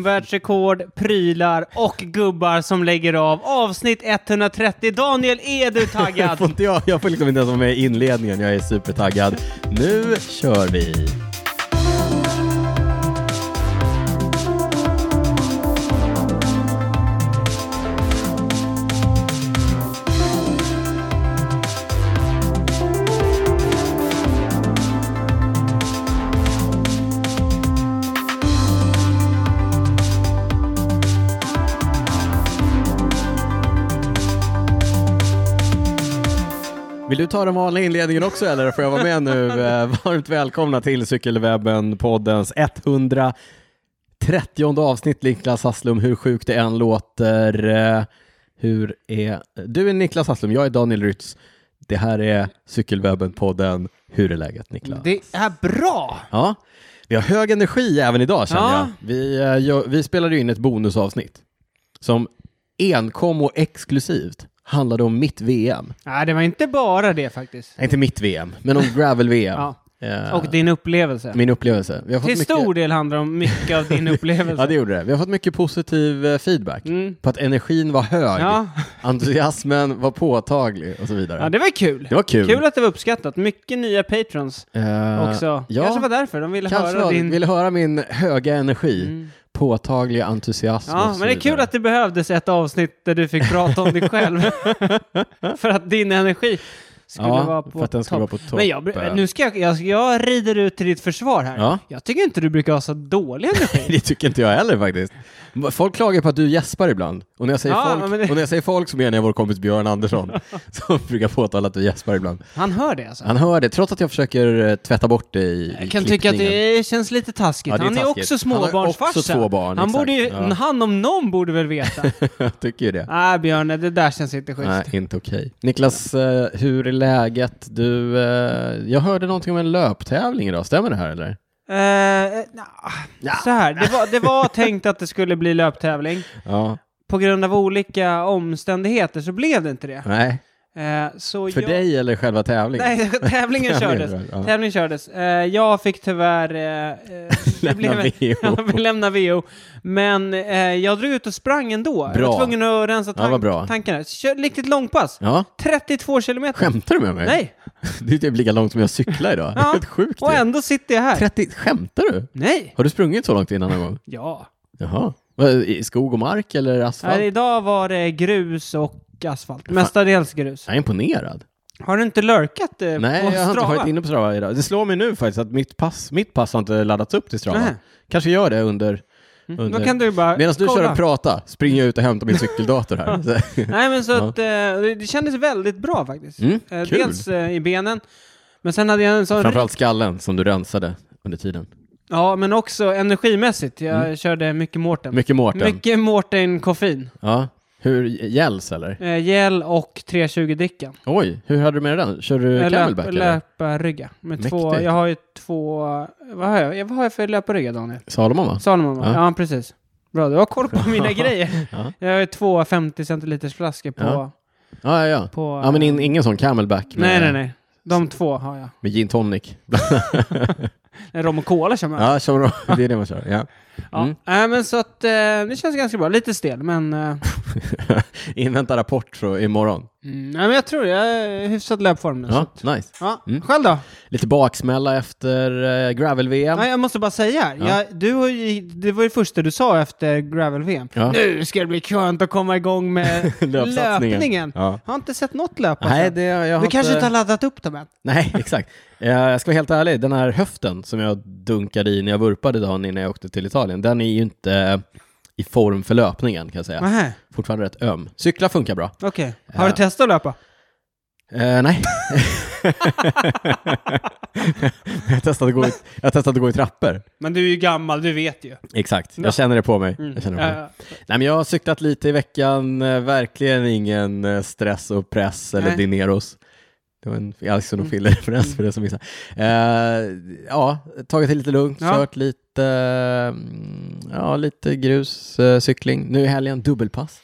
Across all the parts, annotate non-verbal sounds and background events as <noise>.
timvärldsrekord, prylar och gubbar som lägger av. Avsnitt 130. Daniel, är du <laughs> Jag får, taggad? inte, jag, jag får liksom inte ens vara med i inledningen. Jag är supertaggad. Nu kör vi! Vill du ta den vanliga inledningen också eller får jag vara med <laughs> nu? Eh, Varmt välkomna till Cykelwebben poddens 130 avsnitt Niklas Hasslum, hur sjukt det än låter. Eh, Hur är... Du är Niklas Hasslum, jag är Daniel Rytz. Det här är Cykelwebben podden. Hur är läget Niklas? Det är bra! Ja, vi har hög energi även idag känner Ja. jag. Vi, eh, gör- vi spelade ju in ett bonusavsnitt som enkom och exklusivt handlade om mitt VM. Nej, det var inte bara det faktiskt. Nej, inte mitt VM, men om Gravel-VM. Ja. Eh, Och din upplevelse. Min upplevelse. Vi har fått Till mycket... stor del handlar om mycket av din <laughs> Ja, upplevelse. det gjorde det. Vi har fått mycket positiv eh, feedback Mm. på att energin var hög, Ja, entusiasmen var påtaglig och så vidare. ja, det var kul. Det var kul. Kul att det var uppskattat. Mycket nya patrons Eh, också. ja. Kanske var därför de ville Kanske höra var- din... vill höra min höga energi, Mm. påtagliga entusiasm och Ja, så men det är kul vidare. att det behövdes ett avsnitt där du fick prata om dig <laughs> själv. för att din energi skulle ja, vara på för att den skulle topp. vara på topp. Men jag, nu ska jag, jag, jag rider ut till ditt försvar här. Ja. Jag tycker inte du brukar ha så dålig energi. <laughs> <laughs> Det tycker inte jag heller faktiskt. Folk klagar på att du gäspar ibland. Och när jag säger, Ja, folk, men det- och när jag säger folk så menar jag vår kompis <laughs> Björn Andersson <laughs> som brukar påtala att du gäspar ibland. Han hör det alltså. Han hör det trots att jag försöker eh, tvätta bort det i i Jag kan tycka att klippningen. det känns lite taskigt. Ja, det är han är taskigt. också Han har ju småbarnsfarsa. också två barn, han, exakt. borde ju, Ja. han om någon borde väl veta. <laughs> jag tycker ju det. Nej Björn, det där känns inte schysst. Nej, inte okej. Niklas, eh, hur är läget? Du, eh, jag hörde någonting om en löptävling idag, stämmer det här eller? Eh, eh, nja. Ja. Så här, det var, det var tänkt att det skulle bli löptävling. Ja, På grund av olika omständigheter så blev det inte det. nej. Eh, så För jag... dig eller själva tävlingen? Nej, <laughs> tävlingen kördes. Ja. Tävlingen kördes. Eh, jag fick tyvärr... Eh, eh, det blev- <laughs> Lämna VO. Jag fick lämna VO. Men eh, jag drog ut och sprang ändå. Jag var Bra. tvungen att rensa Ja, vad bra. tan- tankarna. Så Kör riktigt långpass. Ja, 32 kilometer. skämtar du med mig? Nej. <laughs> Det är typ lika långt som jag cyklar idag. Det är <laughs> helt sjukt och ju. ändå sitter jag här. 30, skämtar du? Nej. Har du sprungit så långt innan någon <laughs> gång? Ja. Jaha. Vad, I skog och mark eller asfalt? Här, idag var det grus och asfalt. Mestadels grus. Jag är imponerad. Har du inte lurkat eh, Nej, på jag har inte Strava? varit inne på Strava idag. Det slår mig nu faktiskt att mitt pass, mitt pass har inte laddats upp till Strava. Nej. Kanske gör det under... Då under. kan du bara Medan du kolla. kör och prata springer jag ut och hämtar min <laughs> cykeldator här. Så- Mm, Nej men så Ja. att eh, det- det kändes väldigt bra faktiskt. Mm, Eh, kul. Dels eh, i benen, men sen hade jag en sån... Framförallt skallen som du rensade under tiden. Ja, men också energimässigt. Jag körde mycket Mårten. Mm. Mycket Mårten. Mycket Mårten-koffein. Ja. Hur, gälls eller? Eh, gel och 320-dricka. Oj, hur hade du med den? Kör du camelback eller? löparrygga. Med två, Mäktigt. jag har ju två... Vad har jag, vad har jag för löparrygga, Daniel? Salomon va? Salomon, va? Ja. ja. precis. Bra, du har koll <laughs> på mina grejer. Ja. Jag har ju två 50 centiliters flaskor på... Ja. Ja, ja, ja. på Ja, men in, ingen sån camelback Nej, med, nej, nej. De två har jag. med gin tonic. Nej, Rom och cola kör man. Ja, kör man då. <laughs> det är det man kör. Ja. Ja, Mm. nej, men så att eh, det känns ganska bra. Lite stel, men... Eh, Invänta rapport så imorgon. mm, nej, men jag tror jag är i hyfsat löpform nu. så Ja, att- nice. Ja. Mm. Själv då? Lite baksmälla efter eh, gravel-VM. Nej, jag måste bara säga här. Ja. Jag, du, har ju- det var ju det första du sa efter Gravel-VM. Ja. Nu ska det bli skönt att komma igång med <laughs> Löpsatsningen. löpningen. Ja. Jag har inte sett något löp. alltså. Nej, det, jag har du kanske inte inte... har laddat upp dem än? Nej, <laughs> exakt. Eh, jag ska vara helt ärlig, den här höften som jag dunkade i när jag vurpade dagen innan jag åkte till Italien, den är ju inte i form för löpningen kan jag säga. Nej, Fortfarande rätt öm. Cykla funkar bra. okej. Har Ja. du testat att löpa? Eh, <laughs> nej. jag testade att gå i, jag testade att gå i trappor. Men du är ju gammal, du vet ju. Exakt, jag känner det på mig. Mm. Jag känner det på mig. Eh, Nej, men jag har cyklat lite i veckan, eh, verkligen ingen eh, stress och press eller Nej. Mm. dineros. Det var en Alexson och Fille-referens för det som missade. Eh, ja, tagit det lite lugnt, Ja. kört lite, mm, ja, lite grus, eh, cykling. Nu i helgen dubbelpass.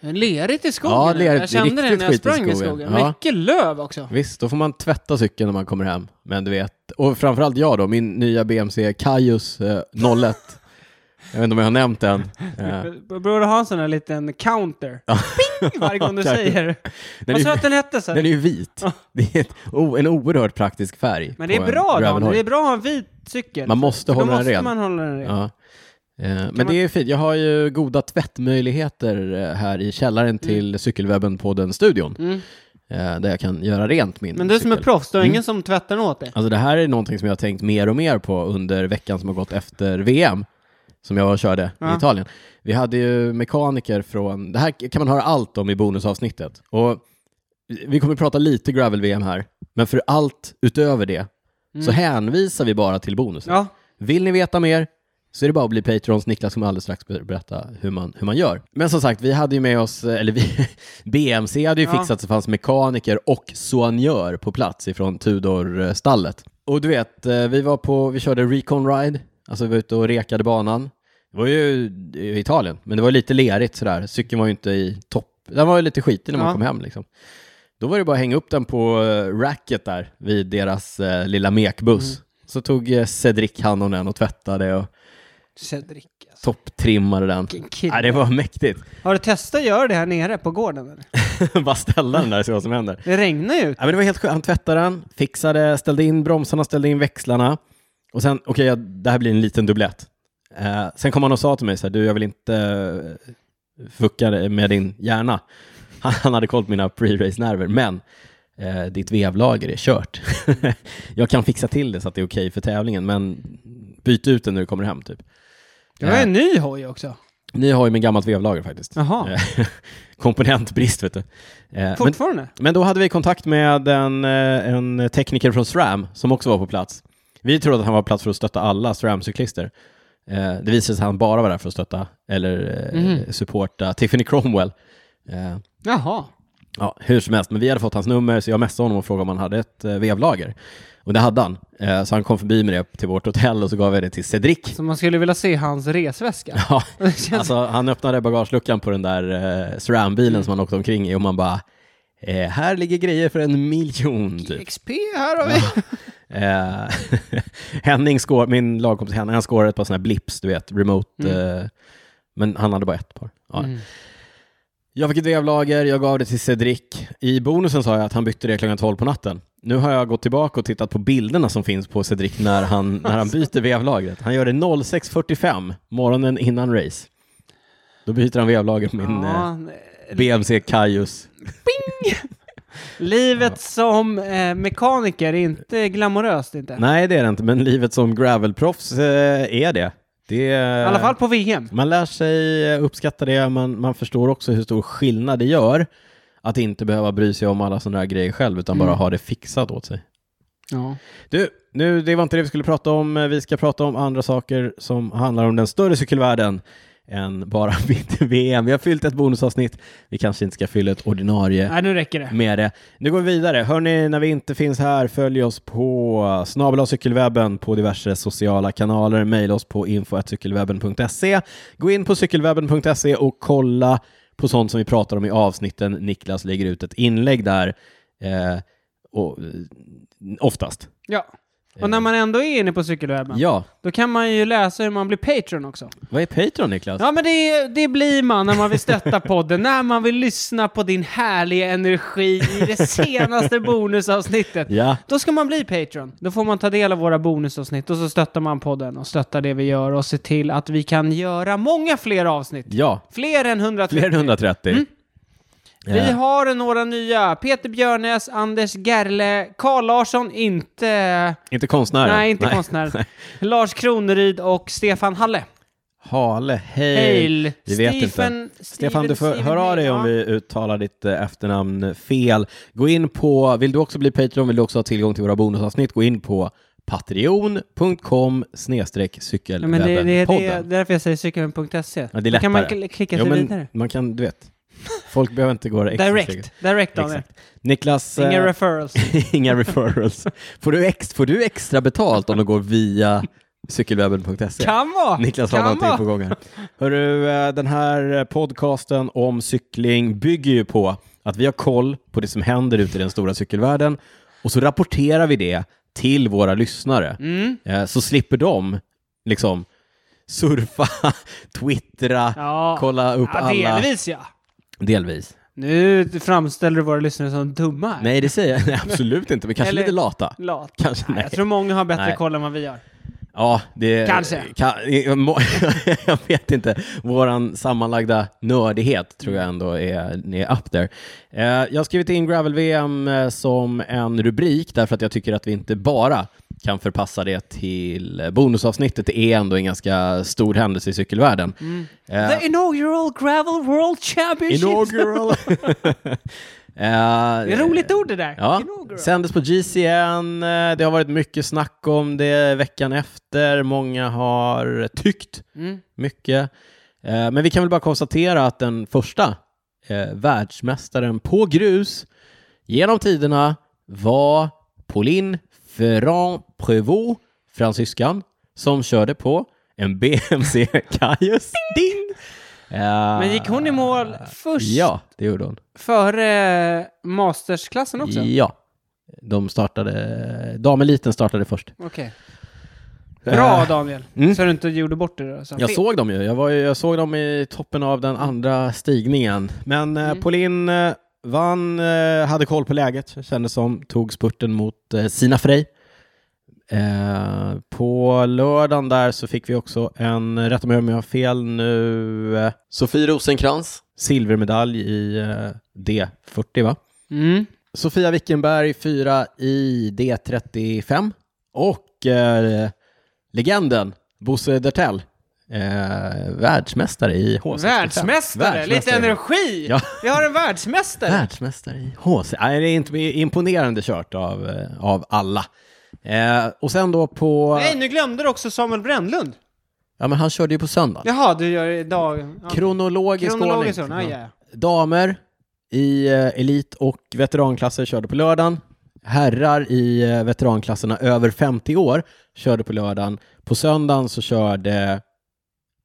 Lerigt i skogen. Ja, lerigt. Det är jag kände det riktigt när jag skit i sprang i skogen. skogen. Ja. Mycket löv också. Visst, då får man tvätta cykeln när man kommer hem. Men du vet, och framförallt jag då, min nya BMC Kajus eh, 01. Jag vet inte om jag har nämnt den. Eh, Borde ha en sån här liten counter. Ping! Varje <laughs> gång du Kanske. säger. den, Vad sa du är, att den hette? Så? den är ju vit. Det är ett, oh, en oerhört praktisk färg. Men det på är en bra Daniel, Ravenhoj. det är bra att ha en vit cykel. Man måste För hålla då den måste ren. man hålla den ren. Ja. Eh, Men man- det är fint. Jag har ju goda tvättmöjligheter eh, här i källaren till cykelwebben på den studion. Mm. eh, Där jag kan göra rent min Men du som är cykel. proffs, du har ingen som tvättar den åt dig? Alltså det här är någonting som jag har tänkt mer och mer på under veckan som har gått efter VM, som jag körde i Ja. Italien. Vi hade ju mekaniker från, det här kan man höra allt om i bonusavsnittet. Och vi kommer prata lite gravel-VM här, men för allt utöver det så hänvisar vi bara till bonusen. Ja. Vill ni veta mer så är det bara att bli Patrons. Niklas kommer alldeles strax ber- berätta hur man, hur man gör. Men som sagt, vi hade ju med oss, eh, eller vi, <laughs> BMC hade ju Ja. fixat så det fanns mekaniker och soignör på plats ifrån Tudor-stallet. Och du vet, eh, vi var på, vi körde Recon Ride, alltså vi var ute och rekade banan. Det var ju i Italien, men det var lite lerigt sådär. Cykeln var ju inte i topp, den var ju lite skitig när man Ja. kom hem liksom. Då var det bara att hänga upp den på eh, racket där vid deras eh, lilla mekbuss. Så tog eh, Cedric hand om den och tvättade och Cedric, alltså. topptrimmade den. Vilken kille. Ja, det var mäktigt. Har du testat att göra det här nere på gården? Eller? bara ställa den där och se vad som händer. Det regnar ju ut. Ja, men det var helt skönt. Han tvättade den, fixade, ställde in bromsarna, ställde in växlarna. Och sen, okej, jag- det här blir en liten dubblett. Eh, sen kom han och sa till mig så här, du, jag vill inte eh, fucka dig med din hjärna. <laughs> Han, han hade koll på mina pre-race-nerver, men eh, ditt vevlager är kört. <laughs> jag kan fixa till det så att det är okej för tävlingen, men byt ut den när du kommer hem, typ. Det var ju en ny hoj också. Ni har ju med gammalt vevlager faktiskt. Jaha. Eh, <laughs> Komponentbrist, vet du. Eh, men- Fortfarande? men då hade vi kontakt med en, eh, en tekniker från SRAM som också var på plats. Vi trodde att han var på plats för att stötta alla SRAM-cyklister. Eh, det visade sig att han bara var där för att stötta eller eh, Mhm. supporta Tiffany Cromwell. Eh, Jaha. ja, hur som helst, men vi hade fått hans nummer så jag messade honom och frågade om han hade ett eh, vevlager. Och det hade han. Eh, så han kom förbi med det till vårt hotell och så gav jag det till Cedric. <laughs> Så man skulle vilja se hans resväska? Ja, <laughs> Det känns- Alltså, han öppnade bagageluckan på den där eh, SRAM-bilen som han åkte omkring i och man bara eh, här ligger grejer för en miljon typ. XP här har vi. Eh, <laughs> Henning skår, min lagkompis Henning, han skårade ett par sådana här blips, du vet, remote. Mm. Eh, men han hade bara ett par. Ja. Jag fick ett vevlager, jag gav det till Cedric. I bonusen sa jag att han bytte det klockan 12 på natten. Nu har jag gått tillbaka och tittat på bilderna som finns på Cedric när han, när han byter vevlagret. Han gör det 06.45, morgonen innan race. Då byter han vevlager på min eh, Ja, BMC Kajus. livet som eh, mekaniker är inte glamoröst inte. Nej, det är det inte, men livet som gravelproffs eh, är det. det är, I alla fall på VM. Man lär sig eh, uppskatta det, man, man förstår också hur stor skillnad det gör att inte behöva bry sig om alla sådana där grejer själv, utan bara ha det fixat åt sig. Ja. Du, nu, det var inte det vi skulle prata om. Eh, Vi ska prata om andra saker som handlar om den större cykelvärlden än bara <laughs> mitt VM. Vi har fyllt ett bonusavsnitt. Vi kanske inte ska fylla ett ordinarie Nej, nu räcker det. med det. Nu går vi vidare. Hörni, när vi inte finns här, följ oss på snabel cykelwebben på diverse sociala kanaler. Mejla oss på info.cykelwebben.se. Gå in på cykelwebben.se och kolla på sånt som vi pratar om i avsnitten. Niklas lägger ut ett inlägg där. Eh, och, eh, oftast. Ja. Och när man ändå är inne på cykelwebben, Ja, då kan man ju läsa hur man blir Patreon också. vad är Patreon Niklas? Ja, men det, det blir man när man vill <laughs> stötta podden, när man vill lyssna på din härliga energi i det <laughs> senaste bonusavsnittet. Ja. Då ska man bli Patreon. Då får man ta del av våra bonusavsnitt och så stöttar man podden och stöttar det vi gör och ser till att vi kan göra många fler avsnitt. Ja, Fler än 130. fler än 130. Mm. Vi har några nya. Peter Björnes, Anders Gerle, Karl Larsson, inte... Inte konstnären. Nej, inte <laughs> konstnär. Lars Kroneryd och Stefan Halle. Hale, hej. Hail. Vi vet Stephen- inte. Stefan, du får Steven- höra av dig om ja. vi uttalar ditt eh, efternamn fel. Gå in på, vill du också bli Patreon, vill du också ha tillgång till våra bonusavsnitt, gå in på patreon.com snedstreck Ja, men det, det, det är cykelwebbenpodden. därför jag säger cykeln.se. Ja, det är Då kan man lättare. kl- klicka Jo, sig men vidare. man kan, du vet, folk behöver inte gå extra steget. Direkt. Direkt, Daniel. Exakt. Niklas, eh, Inga referrals. <laughs> inga referrals. Får du, ex, får du extra betalt om du går via cykelwebben.se? Kan vara. <laughs> Niklas har kan någonting vara. på gång här. Hörru, eh, den här eh, podcasten om cykling bygger ju på att vi har koll på det som händer ute i den stora cykelvärlden och så rapporterar vi det till våra lyssnare. Mm. Eh, Så slipper de liksom surfa, <laughs> twittra, Ja. kolla upp ja, alla... delvis ja. Delvis. Nu framställer du våra lyssnare som dumma. här. Nej, det säger <laughs> jag nej, absolut inte, men kanske Eller- lite lata. Lat. Kanske, Nej, nej. jag tror många har bättre Nej. koll än vad vi har. Ja, det... Kanske. Ka, <laughs> i- må- jag vet inte. Våran sammanlagda nördighet tror jag ändå är, är up there. Eh, jag har skrivit in Gravel-VM eh, som en rubrik därför att jag tycker att vi inte bara kan förpassa det till eh, bonusavsnittet. Det är ändå en ganska stor händelse i cykelvärlden. Mm. Eh, The inaugural Gravel World Championship! inaugural. <laughs> Eh, det är ett roligt ord det där. Ja, Inaugural. sändes på GCN. eh, Det har varit mycket snack om det veckan efter. Många har tyckt Mm. mycket. Eh, Men vi kan väl bara konstatera att den första eh, världsmästaren på grus genom tiderna var Pauline Ferrand Prévost, fransyskan, som körde på en BMC Cajus. Ding! Men gick hon i mål först Eh, Ja, det gjorde hon. före mastersklassen också? Ja. De startade, dameliten startade först. Okej. Bra Eh, Daniel, mm. så du inte gjorde bort det där. Så Jag fel. såg dem ju. Jag, var ju, jag såg dem i toppen av den andra stigningen. Men eh, Pauline eh, vann, eh, hade koll på läget, kändes som. Tog spurten mot eh, Sina Frey. Eh, på lördagen där så fick vi också en, rätta mig om jag har fel nu, eh, Sofie Rosenkrantz. Silvermedalj i eh, D40 va? Mm. Sofia Wickenberg fyra i D35 och eh, legenden Bosse Dertell eh, världsmästare i H65. Världsmästare! Lite energi! Ja. Vi har en världsmästare! Världsmästare i HC. Nej, det är inte imponerande kört av, eh, av alla. Eh, och sen då på... Nej, nu glömde du också Samuel Brännlund. Ja, men han körde ju på söndag. Jaha, du gör det idag. Ja. Kronologisk Kronologiskt ordning. ordning, ja, ja. Damer i eh, elit och veteranklasser körde på lördagen. Herrar i eh, veteranklasserna över 50 år körde på lördagen. På söndagen så körde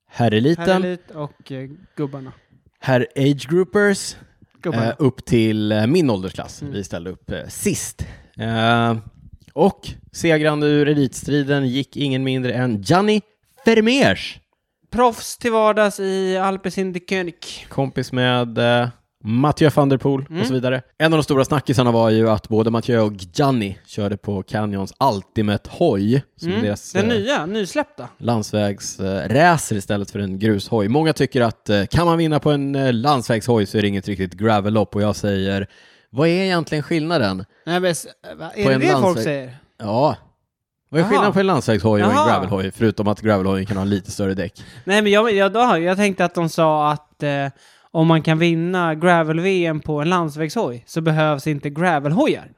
herreliten, Herrelit och eh, gubbarna. herr age groupers, Gubbarna. eh, upp till eh, min åldersklass. Mm. Vi ställde upp eh, sist. Eh, och segrande ur elitstriden gick ingen mindre än Gianni Vermeers, Proffs till vardags i Alpecin de König. kompis med eh, Mathieu van der Poel Mm. och så vidare. En av de stora snackisarna var ju att både Mathieu och Gianni körde på Canyons Ultimate Hoj, som är Mm. deras Den eh, nya, nysläppta. landsvägsracer istället för en grushoj. Många tycker att eh, kan man vinna på en eh, landsvägshoj så är det inget riktigt gravellopp och jag säger, vad är egentligen skillnaden? Nej, men, s- va? är På det en det folk landsväg- säger? Ja, vad är Jaha. skillnaden på en landsvägshoj och Jaha. en gravelhoj? Förutom att gravelhojen kan ha lite större däck. Nej, men jag, jag, då, jag tänkte att de sa att eh, om man kan vinna Gravel-VM på en landsvägshoj så behövs inte Gravel-hojar.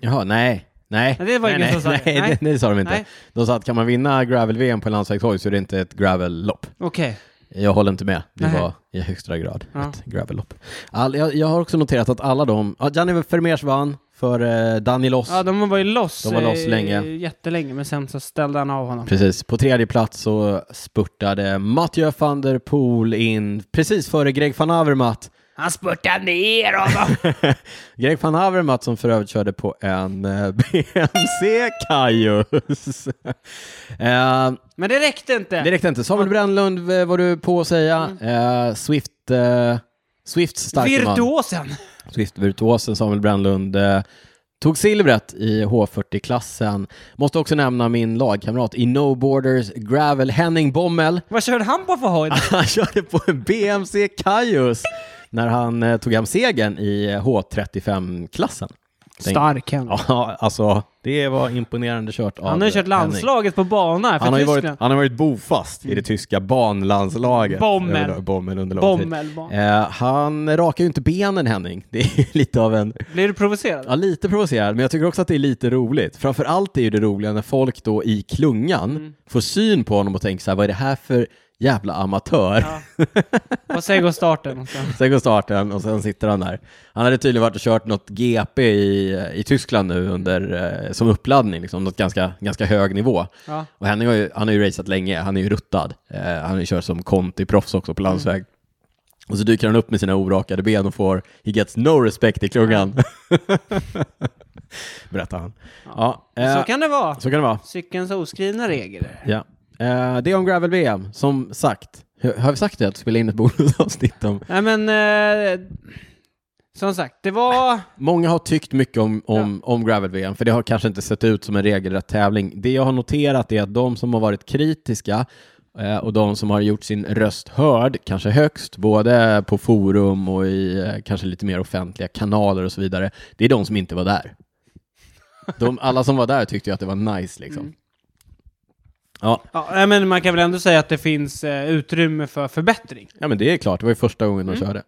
Jaha, nej. Nej, Men det var nej, ingen nej, som sa det. nej, Nej. nej, det sa de inte. Nej. De sa att kan man vinna gravel-VM på en landsvägshoj så är det inte ett gravellopp. Okej. Jag håller inte med. Det Nej. var i högsta grad Ja. ett gravellopp. All, jag, jag har också noterat att alla de, ja, Gianni Vermeers vann för eh, Danny Loss. Ja, de var ju loss, De var loss eh, länge. jättelänge, men sen så ställde han av <laughs> honom. Precis, på tredje plats så spurtade Mathieu van der Poel in precis före Greg van Avermaet. Han spurtade ner honom! Greg van Avermaet som för övrigt körde på en eh, <laughs> BMC Kajus. eh, <laughs> men det räckte inte. Det räckte inte. Samuel Brännlund eh, var du på att säga. Eh, Swift, eh, Swifts starke man. Virtuosen! Swift-virtuosen Samuel Brännlund eh, tog silvret i H40-klassen. Måste också nämna min lagkamrat i No Borders Gravel, Henning Bommel. <laughs> Vad körde han på för hoj? Han körde på en BMC Kajus när han eh, tog hem segern i eh, H35-klassen. Stark han. Ja, alltså det var imponerande kört av Han har ju kört Henning. landslaget på bana för Han har, ju varit, Tyskland. han har varit bofast i det tyska banlandslaget. Bommel. Under- Bommel under lång tid. Bommel bara. Eh, han rakar ju inte benen Henning. Det är ju <laughs> lite av en, Blir du provocerad? ja, lite provocerad, men jag tycker också att det är lite roligt. Framförallt är ju det roliga när folk då i klungan får syn på honom och tänker så här, vad är det här för jävla amatör? Ja. Vad säger går starten? <laughs> Sen går starten och sen sitter han där. Han hade tydligen varit och kört något GP i, i Tyskland nu under, eh, som uppladdning, liksom, något ganska, ganska hög nivå. Ja. Och Henning har ju, han har ju racat länge, han är ju ruttad. Eh, han har ju kört som Conti-proffs också på landsväg. Och så dyker han upp med sina orakade ben och får “He gets no respect” i klungan. <laughs> Berättar han. Ja, eh, Så kan det vara. så kan det vara. Cykelns oskrivna regler. Ja. Eh, det är om Gravel-VM, som sagt. Har- Har vi sagt det? Att spela in ett bonusavsnitt om... Nej men... Eh, som sagt, det var... Många har tyckt mycket om, om, om Gravel-VM, för det har kanske inte sett ut som en regelrätt tävling. Det jag har noterat är att de som har varit kritiska eh, och de som har gjort sin röst hörd, kanske högst, både på forum och i eh, kanske lite mer offentliga kanaler och så vidare, det är de som inte var där. De, alla som var där tyckte ju att det var nice liksom. Ja, Ja, nej, men man kan väl ändå säga att det finns eh, utrymme för förbättring. Ja, men det är klart. Det var ju första gången Mm. de körde.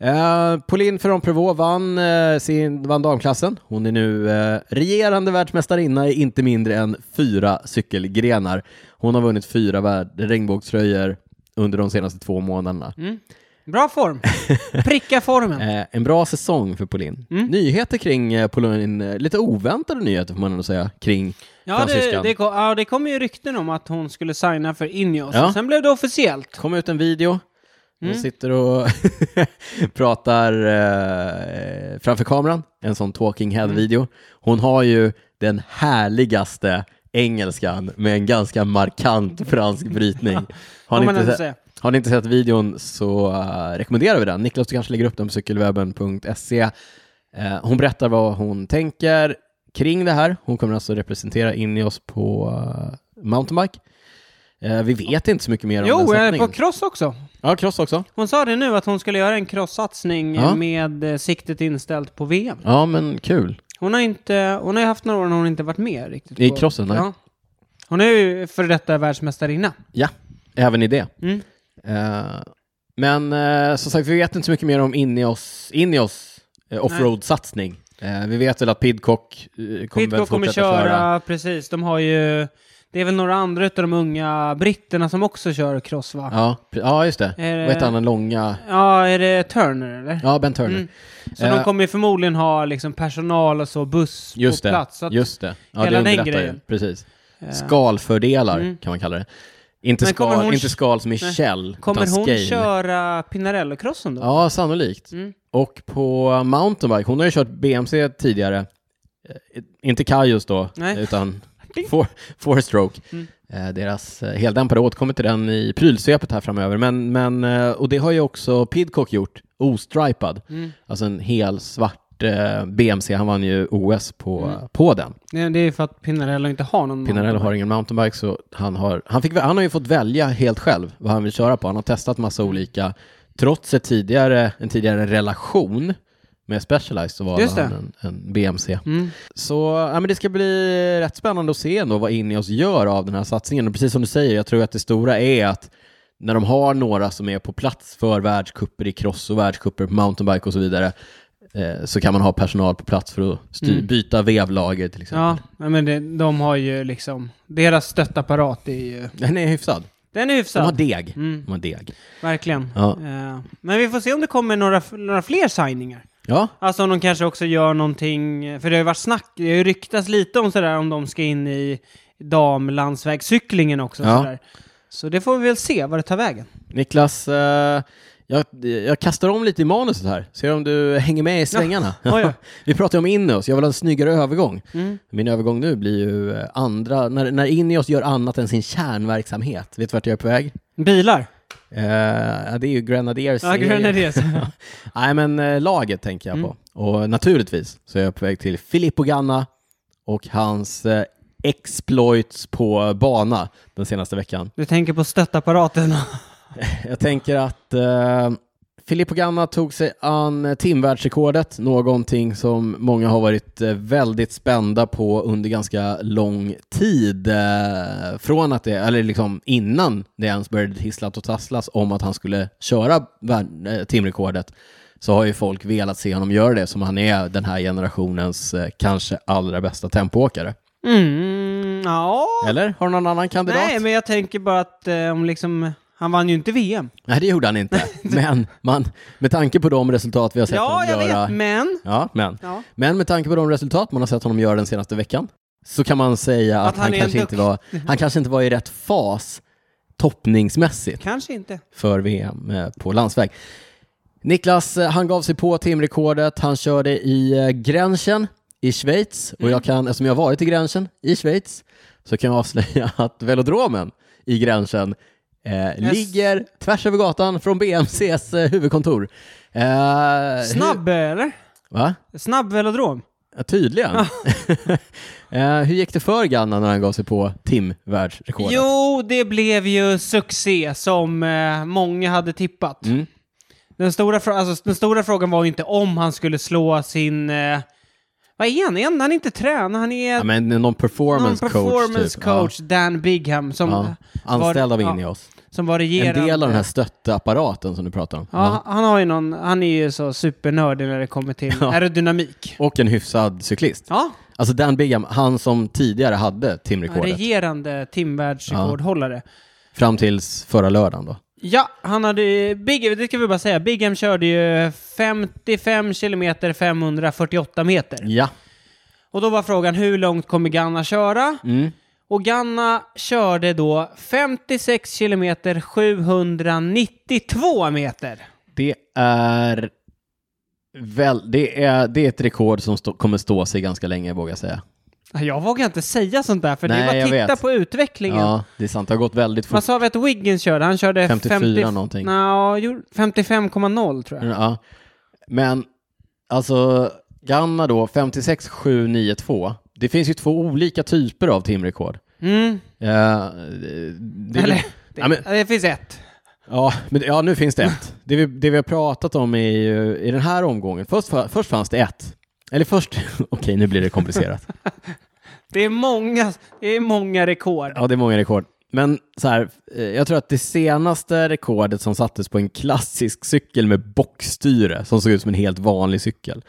Eh, Pauline ferrand prevot vann, eh, sin, vann damklassen. Hon är nu eh, regerande världsmästarinna i inte mindre än fyra cykelgrenar. Hon har vunnit fyra värld, regnbågströjor under de senaste två månaderna. Mm. Bra <laughs> form! Pricka formen! Eh, en bra säsong för Pauline. Mm. Nyheter kring eh, Pauline, eh, lite oväntade nyheter får man ändå säga, kring Ja det, fransyskan. det, kom, ja, det kom ju rykten om att hon skulle signa för Ineos. Ja. och Sen blev det officiellt. kom ut en video. Hon sitter och <laughs> pratar eh, framför kameran, en sån talking head-video. Hon har ju den härligaste engelskan med en ganska markant fransk brytning. Har Får ni, man ändå inte säga. sett, har ni inte sett videon så eh, rekommenderar vi den. Niklas, du kanske lägger upp den på cykelwebben.se. Eh, hon berättar vad hon tänker kring det här. Hon kommer alltså representera in i oss på eh, mountainbike. Eh, vi vet inte så mycket mer om den Jo, eh, satsningen. på cross också. Ja, cross också. Hon sa det nu att hon skulle göra en crossatsning eh, Ja. med eh, siktet inställt på VM. Ja, men kul. Hon har, inte, hon har ju haft några år när hon inte varit med riktigt. I på- crossen, nej. Ja. Hon är ju före detta världsmästarinna. Ja, även i det. Mm. Eh, men eh, som sagt, vi vet inte så mycket mer om Ineos, Ineos eh, offroad-satsning. Eh, vi vet väl att Pidcock eh, kommer väl Pitcock kommer fortsätta köra, precis. De har ju... Det är väl några andra utav de unga britterna som också kör cross, va? Ja, pre- ja, just det. Är det- Vad heter han, den långa? Ja, är det Turner eller? Ja, Ben Turner. Mm. Så Eh, de kommer ju förmodligen ha liksom personal och så buss Just på det. plats. Så att, Just det. Ja, hela det den underlättar ju. grejen. Eh. Mm. Precis. Skalfördelar kan man kalla det. Inte, Men kommer skal, hon- inte skal som i Nej. käll, kommer utan hon scale. köra Pinarello-crossen då? Ja, sannolikt. Mm. Och på mountainbike, hon har ju kört BMC tidigare. Eh, Inte Kajus då, Nej. <laughs> Mm. utan four, four stroke. Eh, Deras eh, heldämpare återkommer till den i prylsvepet här framöver. Men, men, eh, och det har ju också Pidcock gjort, ostripad. Mm. Alltså en hel svart eh, BMC. Han vann ju OS på, Mm. på den. Nej, Det är för att Pinarello inte har någon Pinarello har ingen mountainbike så han har, han, fick, han har ju fått välja helt själv vad han vill köra på. Han har testat massa olika. Trots ett tidigare, en tidigare relation med Specialized så valde Just det. han en, en BMC. Mm. Så ja, men det ska bli rätt spännande att se ändå vad Ineos gör av den här satsningen. Och precis som du säger, jag tror att det stora är att när de har några som är på plats för världscuper i cross och världscuper på mountainbike och så vidare eh, så kan man ha personal på plats för att styr, byta vevlager till exempel. Mm. Ja, nej, men det, de har ju liksom... Deras stöttapparat är ju... Den är hyfsad. Den är De har hyfsad, deg. Mm. De har deg. verkligen. Ja. Eh, men vi får se om det kommer några, några fler signingar. Ja, Alltså om de kanske också gör någonting, för det har ju varit snack, det har ju ryktats lite om sådär om de ska in i damlandsvägscyklingen också. Ja. Sådär. Så det får vi väl se vad det tar <laughs> vägen. Niklas, eh, jag, jag kastar om lite i manuset här. Ser om du hänger med i svängarna. oj, oj. Vi pratade om Ineos, jag vill ha en snyggare övergång. Mm. Min övergång nu blir ju eh, andra, när, när Ineos gör annat än sin kärnverksamhet. Vet du vart jag är på väg? Bilar? Eh, ja, det är ju Grenadiers. Ja, <laughs> Grenadiers. Mm. Nej, men eh, laget tänker jag på. Och naturligtvis så är jag på väg till Filippo Ganna och hans eh, exploits på bana den senaste veckan. Du tänker på stöttapparaten? <laughs> Jag tänker att eh, Filippo Ganna tog sig an timvärldsrekordet, någonting som många har varit eh, väldigt spända på under ganska lång tid. Eh, från att det, eller liksom innan det ens började hisslat och tasslas om att han skulle köra värld, eh, timrekordet så har ju folk velat se honom göra det som han är den här generationens eh, kanske allra bästa tempoåkare. Mm, ja. Eller? Har du någon annan kandidat? Nej, men jag tänker bara att eh, om liksom, han vann ju inte VM. Nej, det gjorde <laughs> han inte. Men man, med tanke på de resultat vi har sett Ja, honom jag göra. vet, men. Ja, men. Ja. men med tanke på de resultat man har sett honom göra den senaste veckan så kan man säga att, han han, är en kanske inte duktig- var, han kanske inte var i rätt fas toppningsmässigt Kanske <laughs> inte. för VM eh, på landsväg. Niklas, eh, han gav sig på timrekordet. Han körde i eh, Grenchen i Mm. <laughs> Schweiz och jag kan, eftersom jag har varit i Grenchen i Schweiz så kan jag avslöja att velodromen i gränsen eh, ligger tvärs över gatan från BMCs eh, huvudkontor. Eh, Snabb, eller? Hur, va? Snabb velodrom? Ja, tydligen. <laughs> eh, hur gick det för Ganna när han gav sig på timvärldsrekordet? Jo, det blev ju succé som eh, många hade tippat. Mm. Den, stora frå- alltså, den stora frågan var ju inte om han skulle slå sin... Eh, vad är han? Är han, han är inte tränare, han är Ja, men någon performance, någon performance typ. coach, Dan Bigham, som, Ja. Ja. Anställd av var, ja, Ineos. som var regerande. En del av den här stötteapparaten som du pratar om. Ja, han har ju någon, han är ju så supernördig när det kommer till <laughs> Ja. aerodynamik. Och en hyfsad cyklist. Ja, Alltså Dan Bigham, han som tidigare hade timrekordet. regerande timvärldsrekordhållare. Fram tills förra lördagen då. Ja, han hade Big, det ska vi bara säga, Big M körde ju 55 kilometer 548 meter. Ja. Och då var frågan hur långt kommer Ganna köra? Mm. Och Ganna körde då 56 kilometer 792 meter. Det är... Väl, det, är, det är ett rekord som stå, kommer stå sig ganska länge, vågar jag säga. Jag vågar inte säga sånt där, för det Nej, är bara jag att titta vet. på utvecklingen. Ja, det är sant. Det har gått väldigt Vad fort. sa vi att Wiggins körde? Han körde 54 50 någonting. Mm. Nja, jo, 55,0 tror jag. Ja. Men, alltså, Ganna då, 56792. Det finns ju två olika typer av timrekord. Mm. Eh, det- det- Eller, det, Ja, men- det finns ett. Ja, men, ja, nu finns det ett. Det vi, det vi har pratat om i, i den här omgången, först, fa- först fanns det ett. Eller först, <laughs> okej nu blir det komplicerat. Det är många, det är många rekord. Ja, det är många rekord. Men så här, eh, jag tror att det senaste rekordet som sattes på en klassisk cykel med bockstyre som såg ut som en helt vanlig cykel,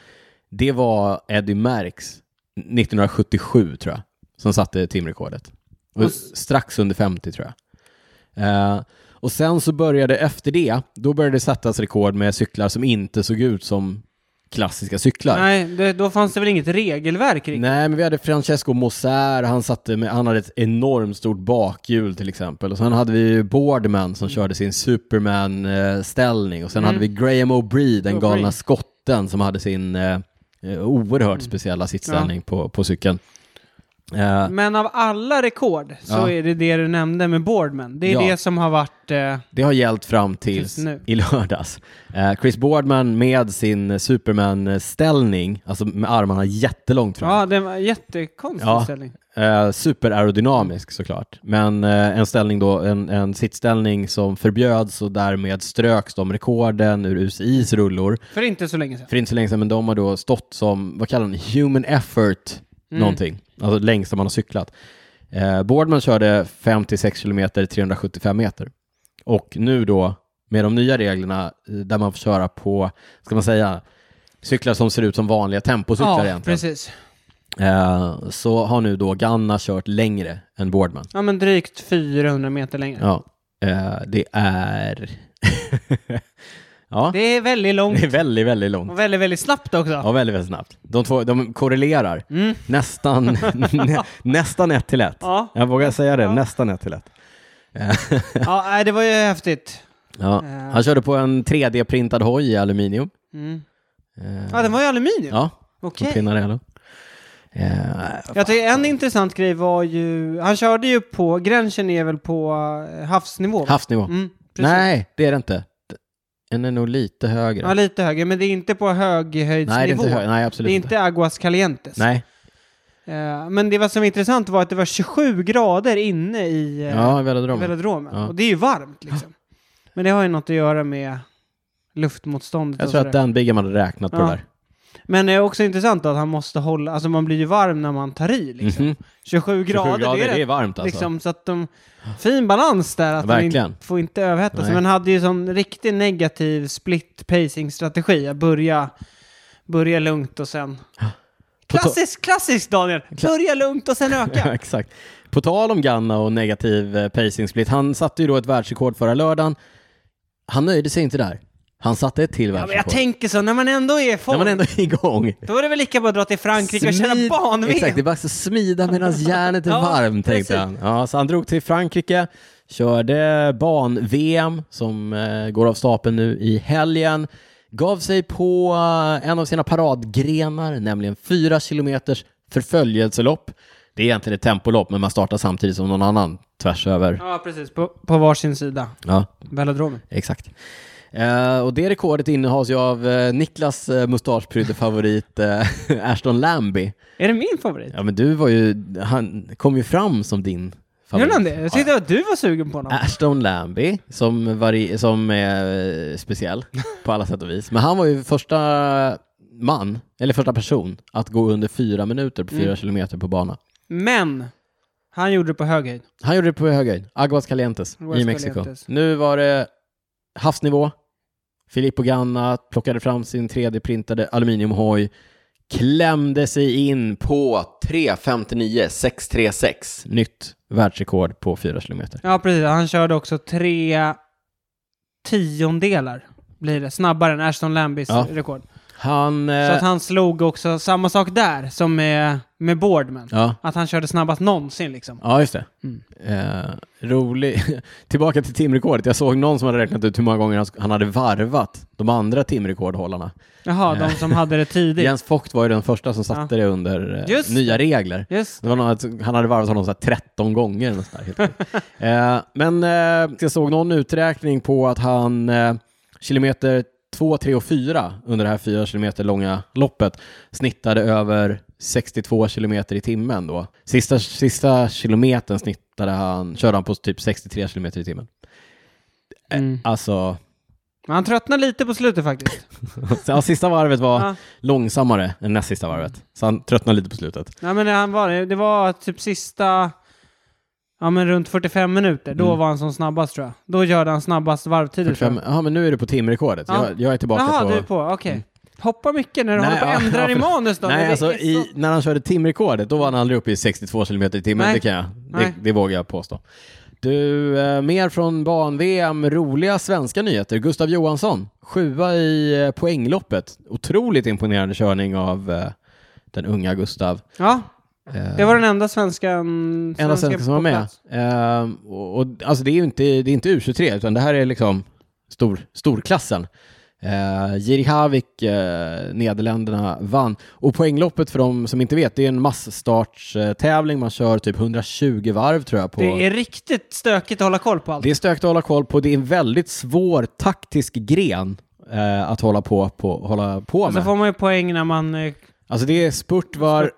det var Eddie Merckx 1977 tror jag, som satte timrekordet. Och Och s- strax under 50 tror jag. Eh, och sen så började efter det, då började det sättas rekord med cyklar som inte såg ut som klassiska cyklar. Nej, det, då fanns det väl inget regelverk kring. Nej, men vi hade Francesco Moser, han, satte med, han hade ett enormt stort bakhjul till exempel. Och sen hade vi ju Boardman som körde sin Superman-ställning. Och sen Mm. hade vi Graham O'Bree, den O'Bree. galna skotten, som hade sin eh, eh, oerhört Mm. speciella sittställning på, på cykeln. Eh, Men av alla rekord så Ja. är det det du nämnde med Boardman. Det är Ja. det som har varit... Eh, det har gällt fram tills Tills nu. i lördags. Eh, Chris Boardman med sin Superman-ställning, alltså med armarna jättelångt fram. ja, det var en jättekonstig Ja. ställning. Eh, superaerodynamisk såklart, men eh, en, ställning då, en, en sittställning som förbjöds och därmed ströks de rekorden ur UCIs rullor. För inte så länge sedan. För inte så länge sedan, men de har då stått som, vad kallar man human effort Mm. någonting, alltså längst man har cyklat. Eh, Boardman körde 56 kilometer 375 meter. Och nu då, med de nya reglerna eh, där man får köra på, ska man säga, cyklar som ser ut som vanliga tempocyklar Ja, egentligen. precis. Eh, så har nu då Ganna kört längre än Boardman. Ja, men drygt 400 meter längre. Ja, eh, det är... <laughs> ja, Det är väldigt långt det är väldigt, väldigt långt. och väldigt, väldigt snabbt också. Ja, väldigt, väldigt snabbt. De två, de korrelerar. Nästan, <laughs> nä, nästan ett till ett. Mm. Ja. Jag vågar säga det, nästan ett till ett. Ja, nej, det var ju häftigt. Ja. Eh. Han körde på en 3D-printad hoj i aluminium. Mm. Eh, Ja, den var ju aluminium. Ja, Okej. okay. Pinarello. Eh, Jag tycker en intressant grej var ju, han körde ju på, gränsen är väl på eh, havsnivå? va? havsnivå. Mm, precis. Nej, det är det inte. Den är nog lite högre. Ja, lite högre, men det är inte på höghöjdsnivå. Nej, det är inte högre. Nej, absolut Det är inte. inte Aguas Calientes. Nej, Eh, men det vad som var intressant var att det var 27 grader inne i eh, ja, velodromen. velodromen. Ja. Och det är ju varmt liksom. Men det har ju något att göra med luftmotståndet Jag och tror sådär. att Dan Bigham hade räknat på Ja. det där. Men det är också intressant att han måste hålla, alltså man blir ju varm när man tar i liksom. Mhm. 27 grader, 27 grader, det är rätt, varmt alltså. liksom, så att de, fin balans där, att Ja, han inte, verkligen. får inte överhettas. Nej. Men han hade ju sån riktigt negativ split pacing strategi, att börja, börja lugnt och sen... På to- Klassisk, klassisk Daniel! Börja lugnt och sen <laughs> Ja, öka. <laughs> exakt. På tal om Ganna och negativ eh, pacing split, han satte ju då ett världsrekord förra lördagen. Han nöjde sig inte där. Han satte ett till Ja, men jag världsrekord. tänker så, när man ändå är i När form, man ändå är igång. då är det väl lika bra att dra till Frankrike och köra Smid- Exakt, det barn är bara att smida medan <laughs> järnet är Ja, varmt, tänkte precis. han. Ja, så han drog till Frankrike, körde ban-VM som eh, går av stapeln nu i helgen, gav sig på eh, en av sina paradgrenar, nämligen fyra kilometers förföljelselopp Det är egentligen ett tempolopp, men man startar samtidigt som någon annan tvärs över. Ja, precis. På, på varsin sida. Ja, Velodromen. exakt. Eh, och det rekordet innehas ju av eh, Niklas eh, mustaschprydde favorit eh, <laughs> Ashton Lambie. Är det min favorit? Ja, men du var ju, han kom ju fram som din Gjorde favorit. Äh. han det? Jag tyckte att du var sugen på honom. Ashton Lambie, som, vari- som är eh, <laughs> speciell på alla sätt och vis. Men han var ju första man, eller första person, att gå under fyra minuter på fyra Mm. kilometer på bana. Men, han gjorde det på hög höjd. Han gjorde det på hög höjd, Aguas Calientes Aguas i Mexiko. Calientes. Nu var det havsnivå. Filippo Ganna plockade fram sin 3D-printade aluminiumhoj, klämde sig in på 3.59,636. Nytt världsrekord på fyra kilometer. Ja, precis. Han körde också tre tiondelar, blir det. Snabbare än Ashton Lambis Ja. rekord. Han... eh, Så att han slog också samma sak där som med, med Boardman. Ja. Att han körde snabbast någonsin liksom. Ja, just det. Mm. Eh, rolig. <laughs> Tillbaka till timrekordet. Jag såg någon som hade räknat ut hur många gånger han sk- han hade varvat de andra timrekordhållarna. Jaha, de som Eh. hade det tidigt. Jens Vogt var ju den första som satte det under eh, Just nya regler. Just Det var någon, att han hade varvat honom så här 13 gånger. eller något sånt där, <laughs> helt sjukt. eh, men eh, jag såg någon uträkning på att han eh, kilometer 2, 3 och 4 under det här 4 kilometer långa loppet snittade över 62 kilometer i timmen då. Sista, sista kilometern snittade han, körde han på typ 63 kilometer i timmen. Mm. Alltså, <laughs> Men han tröttnade lite på slutet faktiskt. ja, sista varvet var Ja. långsammare än näst sista varvet. Så han tröttnade lite på slutet. Nej, men han var, det var typ sista... Ja, men runt 45 minuter. Då Mm. var han som snabbast tror jag. Då körde han snabbast varvtider. 45, ja men nu är du på timrekordet. Ja. Jag, jag är tillbaka Jaha, på... du är på. Okej. Hoppa mycket när du Mm. Nej, håller på och ja, ändrar ja, i förlåt. manus då. Nej, Det alltså är så- i, när han körde timrekordet, då var han aldrig uppe i 62 kilometer i timmen. Nej. Det kan jag. Det, Nej. det vågar jag påstå. Du, eh, mer från ban-VM, roliga svenska nyheter. Gustav Johansson, sjua i eh, poängloppet. Otroligt imponerande körning av eh, den unga Gustav. Ja, Eh, det var den enda svenskan... enda svensken svensken som var på med. plats. Eh, och, och, alltså det är ju inte, det är inte U23, utan det här är liksom stor, storklassen. Eh, Jiri Havik, eh, Nederländerna, vann. Och poängloppet för de som inte vet, det är en massstartstävling. Man kör typ 120 varv tror jag. På. Det är riktigt stökigt att hålla koll på allt. Det är stökigt att hålla koll på. Det är en väldigt svår taktisk gren eh, att hålla på, på, hålla på Och så med. får man ju poäng när man... eh, Alltså det är spurt var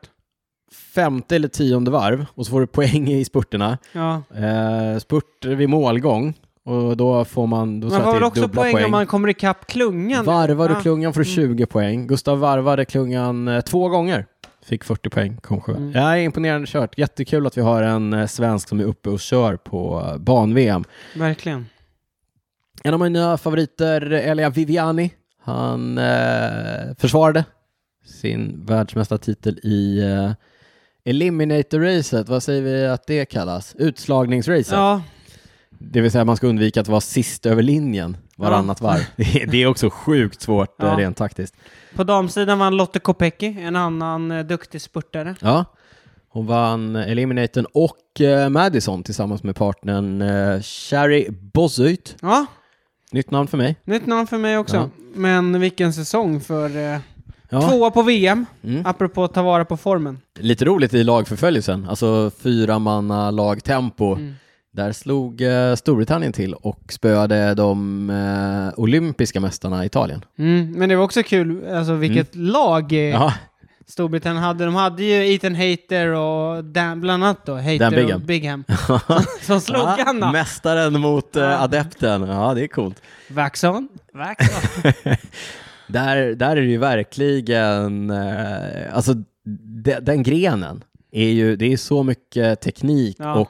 femte eller tionde varv och så får du poäng i spurterna. Ja. Eh, spurt vid målgång och då får man, då tror Man får jag att väl det är också dubbla poäng, om man kommer ikapp klungan. Varvar Ja. du Mm. klungan får du 20 poäng. Gustav varvade klungan eh, två gånger. Fick 40 poäng, kom sjua. Mm. Ja, imponerande kört. Jättekul att vi har en eh, svensk som är uppe och kör på eh, ban-VM. Verkligen. En av mina favoriter, Elia Viviani, han eh, försvarade sin världsmästartitel i eh, Eliminator-racet. Vad säger vi att det kallas? Utslagningsracet. Ja, Det vill säga man ska undvika att vara sist över linjen varannat varv. <laughs> Det är- Det är också sjukt svårt Ja. ja. rent taktiskt. på damsidan vann Lotte Kopecky, en annan eh, duktig spurtare. Ja. Hon vann Eliminatorn och eh, Madison tillsammans med partnern eh, Sherry Bozzuyt. Ja, Nytt namn för mig. nytt namn för mig också. Ja. Men vilken säsong för... Eh, Ja. Tvåa på VM, Mm. apropå att ta vara på formen. Lite roligt i lagförföljelsen, alltså fyra manna lagtempo. Där slog eh, Storbritannien till och spöade de eh, olympiska mästarna Italien. Mm, men det var också kul, alltså vilket lag eh, Mm. Ja, Storbritannien hade. De hade ju Ethan Hater och Dan, bland annat då, Hater Dan Bigham. och <laughs> Bigham. <laughs> som slog Anna. mästaren mot eh, Ja. adepten. Ja, det är coolt. Wax on. Wax on. Där, där är det ju verkligen, eh, alltså de, den grenen är ju, det är så mycket teknik Ja. och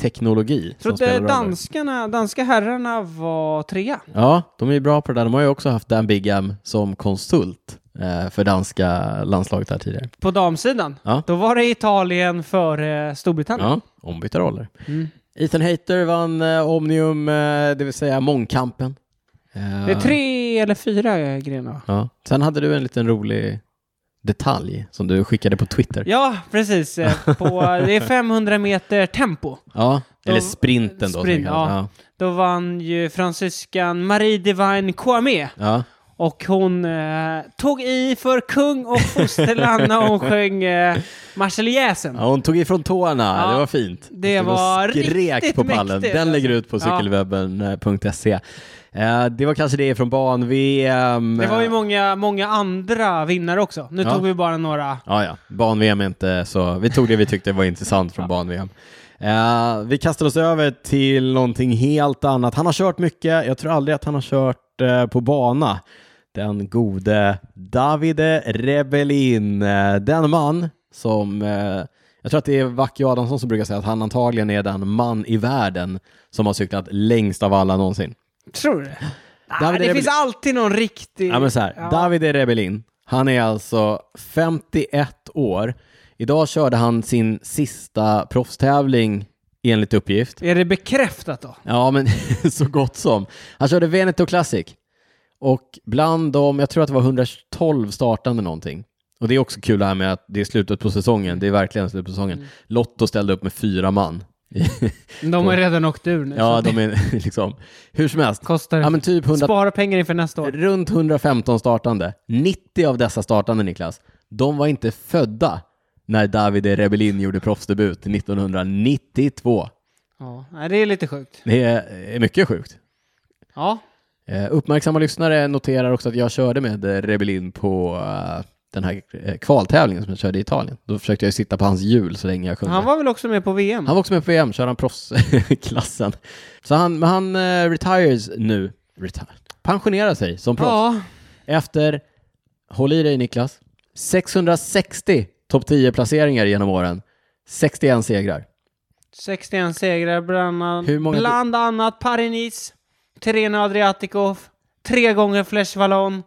teknologi som Trodde spelar roll. danskarna, danska herrarna var trea. Ja, de är ju bra på det där. De har ju också haft Dan Bigham som konsult eh, för danska landslaget här tidigare. På damsidan, Ja. då var det Italien före eh, Storbritannien. Ja, ombytta roller. Mm. Ethan Hayter vann eh, Omnium, eh, det vill säga mångkampen. Eh, Det är tre eller fyra eh, grenar va? Ja. Sen hade du en liten rolig detalj som du skickade på Twitter. Ja, precis. eh, På, det är 500 meter tempo. Ja, Då- eller sprinten då. som Sprint, det kallas. ja. Då vann ju fransyskan Marie Divine Kouamé. Ja. Och hon eh, tog i för kung och fosterland när <laughs> hon sjöng eh, Marseljäsen. Ja, hon tog ifrån tårna, Ja, det var fint. det Hon stod och var skrek riktigt på pallen. mäktigt, Den lägger ut alltså. på Ja. cykelwebben.se. Eh, Det var kanske det från barn-VM. Det var ju många, många andra vinnare också. Nu Ja. tog vi bara några. Ja, ja. Barn-VM är inte så... Vi tog det vi tyckte var intressant från barn-VM. Eh, vi kastar oss över till någonting helt annat. Han har kört mycket. Jag tror aldrig att han har kört eh, på bana. Den gode Davide Rebellin. Eh, den man som... eh, jag tror att det är Vacke Adamsson som brukar säga att han antagligen är den man i världen som har cyklat längst av alla någonsin. Tror du det? David Ah, är det finns väl- alltid någon riktig... Ja, men så här. Ja. Davide Rebellin, han är alltså 51 år. Idag körde han sin sista proffstävling enligt uppgift. Är det bekräftat då? Ja, men <laughs> så gott som. Han körde Veneto Classic. Och bland dem, jag tror att det var 112 startande någonting. Och det är också kul det här med att det är slutet på säsongen. Det är verkligen slutet på säsongen. Mm. Lotto ställde upp med fyra man. <laughs> De har redan åkt ur nu. ja, så de är <laughs> liksom... Hur som helst. det kostar... Ja, men typ 100 Spara pengar inför nästa år. Runt 115 startande. 90 av dessa startande, Niklas, de var inte födda när Davide Rebellin gjorde proffsdebut 1992. Ja, nej, det är lite sjukt. Det är är mycket sjukt. Ja, Eh, Uppmärksamma lyssnare noterar också att jag körde med eh, Rebellin på eh, den här eh, kvaltävlingen som jag körde i Italien. Då försökte jag ju sitta på hans hjul så länge jag kunde. han var väl också med på VM? Han var också med på VM, körde han proffsklassen. Så han, men han eh, retires nu. Retire. Pensionerar sig som proffs. Ja, Efter, håll i dig Niklas, 660 topp 10-placeringar genom åren. 61 segrar. 61 segrar bland, annan- Hur många- bland annat Paris-Nice, Tirreno Adriatico, tre gånger Flesh Wallon,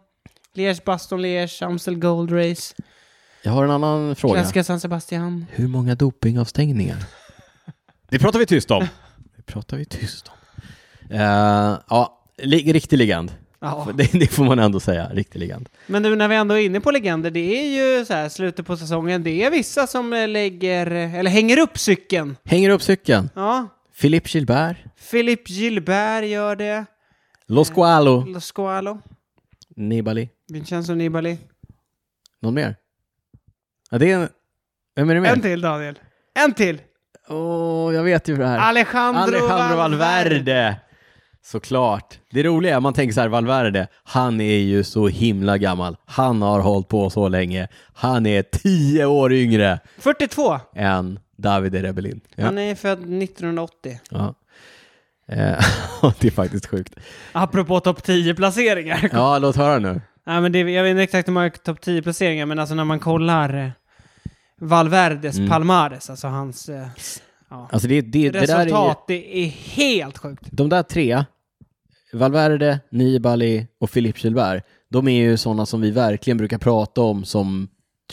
Liège-Baston-Liège, Amstel Gold Race, Jag har en annan fråga. Klassiska San Sebastian. Hur många dopingavstängningar? Det pratar vi tyst om. Det pratar vi tyst om. Eh, ja, li- riktig legend. Ja. Det, det får man ändå säga, riktig legend. Men nu när vi ändå är inne på legender, det är ju så här slutet på säsongen, det är vissa som eh, lägger, eh, eller hänger upp cykeln. Hänger upp cykeln. Ja, Philippe Gilbert. Philippe Gilbert gör det, Los Mm. Gualo. Lo Squalo, Nibali. Vincenzo Nibali. Någon mer? Ja, det är en... Vem är det En mer? till Daniel, en till! Åh, jag vet ju det Ah, här. Alejandro, Alejandro Valverde! Såklart. Det roliga är, man tänker så här, Valverde, han är ju så himla gammal. Han har hållit på så länge. Han är tio år yngre 42! än Davide Rebellin. Ja. Han är född 1980. Ja. Eh, <laughs> det är faktiskt sjukt. Apropå topp <laughs> 10-placeringar. Ja, låt höra nu. Nej, men det, jag vet inte exakt hur många topp 10-placeringar, men alltså när man kollar eh, Valverdes Palmares, alltså hans eh, ja. Alltså det, Mm. det, det där är ju, resultat, det är helt sjukt. De där tre, Valverde, Nibali och Philippe Gilbert, de är ju sådana som vi verkligen brukar prata om som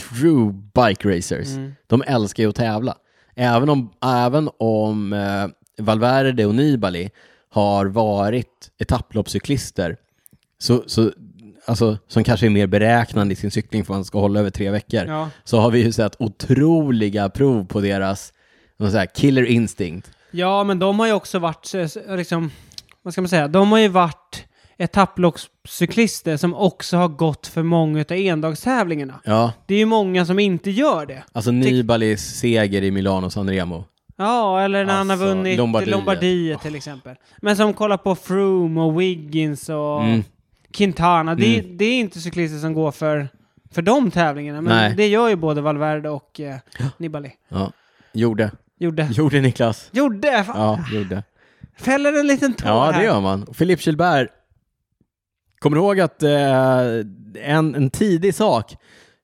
true bike racers. De älskar ju att tävla. Även om, även om eh, Valverde och Nibali har varit etapploppscyklister, så, så, alltså, som kanske är mer beräknande i sin cykling för att man ska hålla över tre veckor, Ja. så har vi ju sett otroliga prov på deras vad ska jag säga, killer instinct. Ja, men de har ju också varit, eh, s- liksom, vad ska man säga, de har ju varit etapploppscyklister som också har gått för många av endagstävlingarna. Ja, Det är ju många som inte gör det. Alltså Nibalis seger i Milano San Remo. Ja, eller när han har Alltså, vunnit Lombardiet. Oh. Lombardiet, till exempel. Men som kollar på Froome och Wiggins och Mm. Quintana. Det, är- det är inte cyklister som går för, för de tävlingarna. Men Nej. det gör ju både Valverde och eh, Nibali. Ja. Gjorde. Gjorde. Gjorde Niklas. Gjorde! Fan, Ja, gjorde. Fäller en liten tår Ja, här. det gör man. Och Philippe Gilbert, kommer du ihåg att eh, en, en tidig sak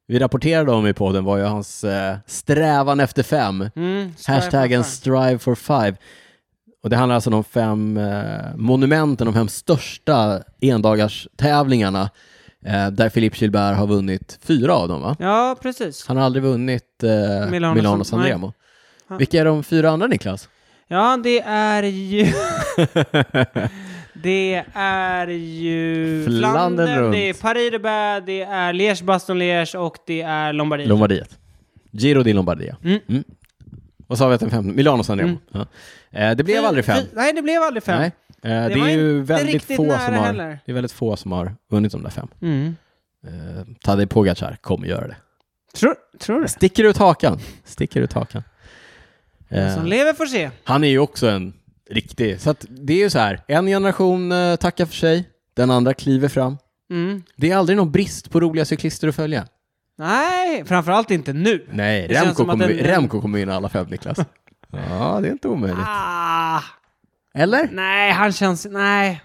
vi rapporterade om i podden var ju hans eh, strävan efter fem. Mm, ska jag Hashtaggen få fram. strive for five. Och det handlar alltså om de fem eh, monumenten, de fem största endagarstävlingarna eh, där Philippe Gilbert har vunnit fyra av dem va? Ja, precis. Han har aldrig vunnit eh, Milano, Milano- San nej. Remo. Han- Vilka är de fyra andra Niklas? Ja, det är ju... <laughs> det är ju... Flandern runt. det är Paris-Roubaix, det är Liège-Baston-Liège och det är Lombardiet. Lombardiet. Giro di Lombardia. Mm. Vad sa vi att den femte? Milano San Remo. Ja. Eh, det blev aldrig fem. Fy- Nej, det blev aldrig fem. Nej. Eh, det, var är ju inte väldigt riktigt få, nära som har, heller. det är väldigt få som har vunnit de där fem. Mm. Eh, Tadej Pogacar kommer göra det. Tror, tror du? Sticker ut hakan. Sticker ut Den hakan. Eh, Som lever får se. han är ju också en riktig... Så att det är ju så här, en generation eh, tackar för sig, den andra kliver fram. Mm. Det är aldrig någon brist på roliga cyklister att följa. Nej, framförallt inte nu. Nej, Det känns Remco som att kommer, den- Remco kommer vinna alla fem, <laughs> Niklas. ja, det är inte omöjligt. Ah, Eller? nej, han känns... Nej.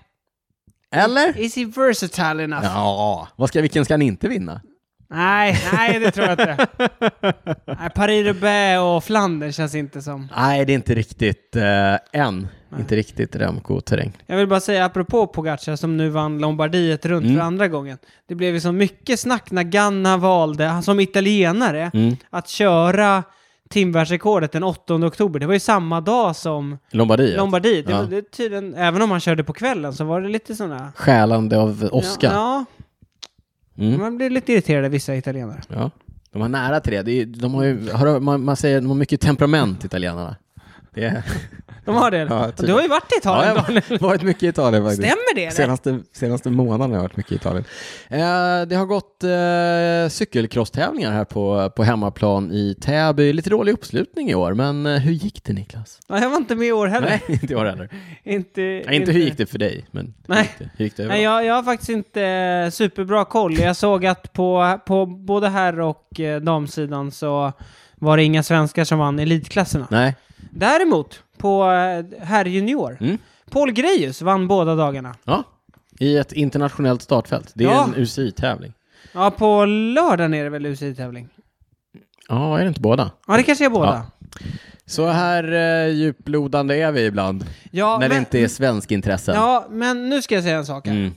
Eller? Is he versatile enough? Ja, vad ska, vilken ska han inte vinna? Nej, nej, det tror jag <laughs> inte. nej, Paris-Roubaix och Flandern känns inte som... Nej, det är inte riktigt eh, än. Inte riktigt Remco-terräng. Jag vill bara säga apropå Pogacar som nu vann Lombardiet runt Mm. för andra gången. Det blev ju så mycket snack när Ganna valde, han som italienare, Mm. att köra timvärldsrekordet den 8 oktober. Det var ju samma dag som Lombardiet. Lombardiet. Det Typ. Ja. var, det är tydligen, även om han körde på kvällen så var det lite sådana... Själande av Oscar. Ja, ja Mm. man blir lite irriterad av vissa italienare. Ja. De har nära till det. det är, de har ju, har, de- man, man säger att de har mycket temperament, italienarna. Det är, De har det? Ja, du har ju varit i ja, Italien, jag Daniel. har <laughs> varit mycket i Italien faktiskt. Stämmer det? eller? Senaste, senaste månaden har jag varit mycket i Italien. Eh, det har gått eh, cykelcross-tävlingar här på, på hemmaplan i Täby. Lite dålig uppslutning i år, men eh, hur gick det Niklas? Ja, jag var inte med i år heller. Nej, <laughs> inte i <laughs> år heller. Inte, Nej, inte hur gick det för dig, men hur Nej. gick det, hur gick det Nej, jag, jag har faktiskt inte eh, superbra koll. Jag såg att på, på både herr och eh, damsidan så var det inga svenskar som vann elitklasserna. Nej. Däremot, på eh, herr junior, Mm. Paul Grejus vann båda dagarna. Ja. I ett internationellt startfält. Det är Ja. en UCI-tävling. Ja, på lördagen är det väl UCI-tävling? Ja, är det inte båda? Ja, det kanske är båda. Så här eh, djuplodande är vi ibland. Ja, ja, när men, det inte är svensk intressen. ja men nu ska jag säga en sak här. Mm.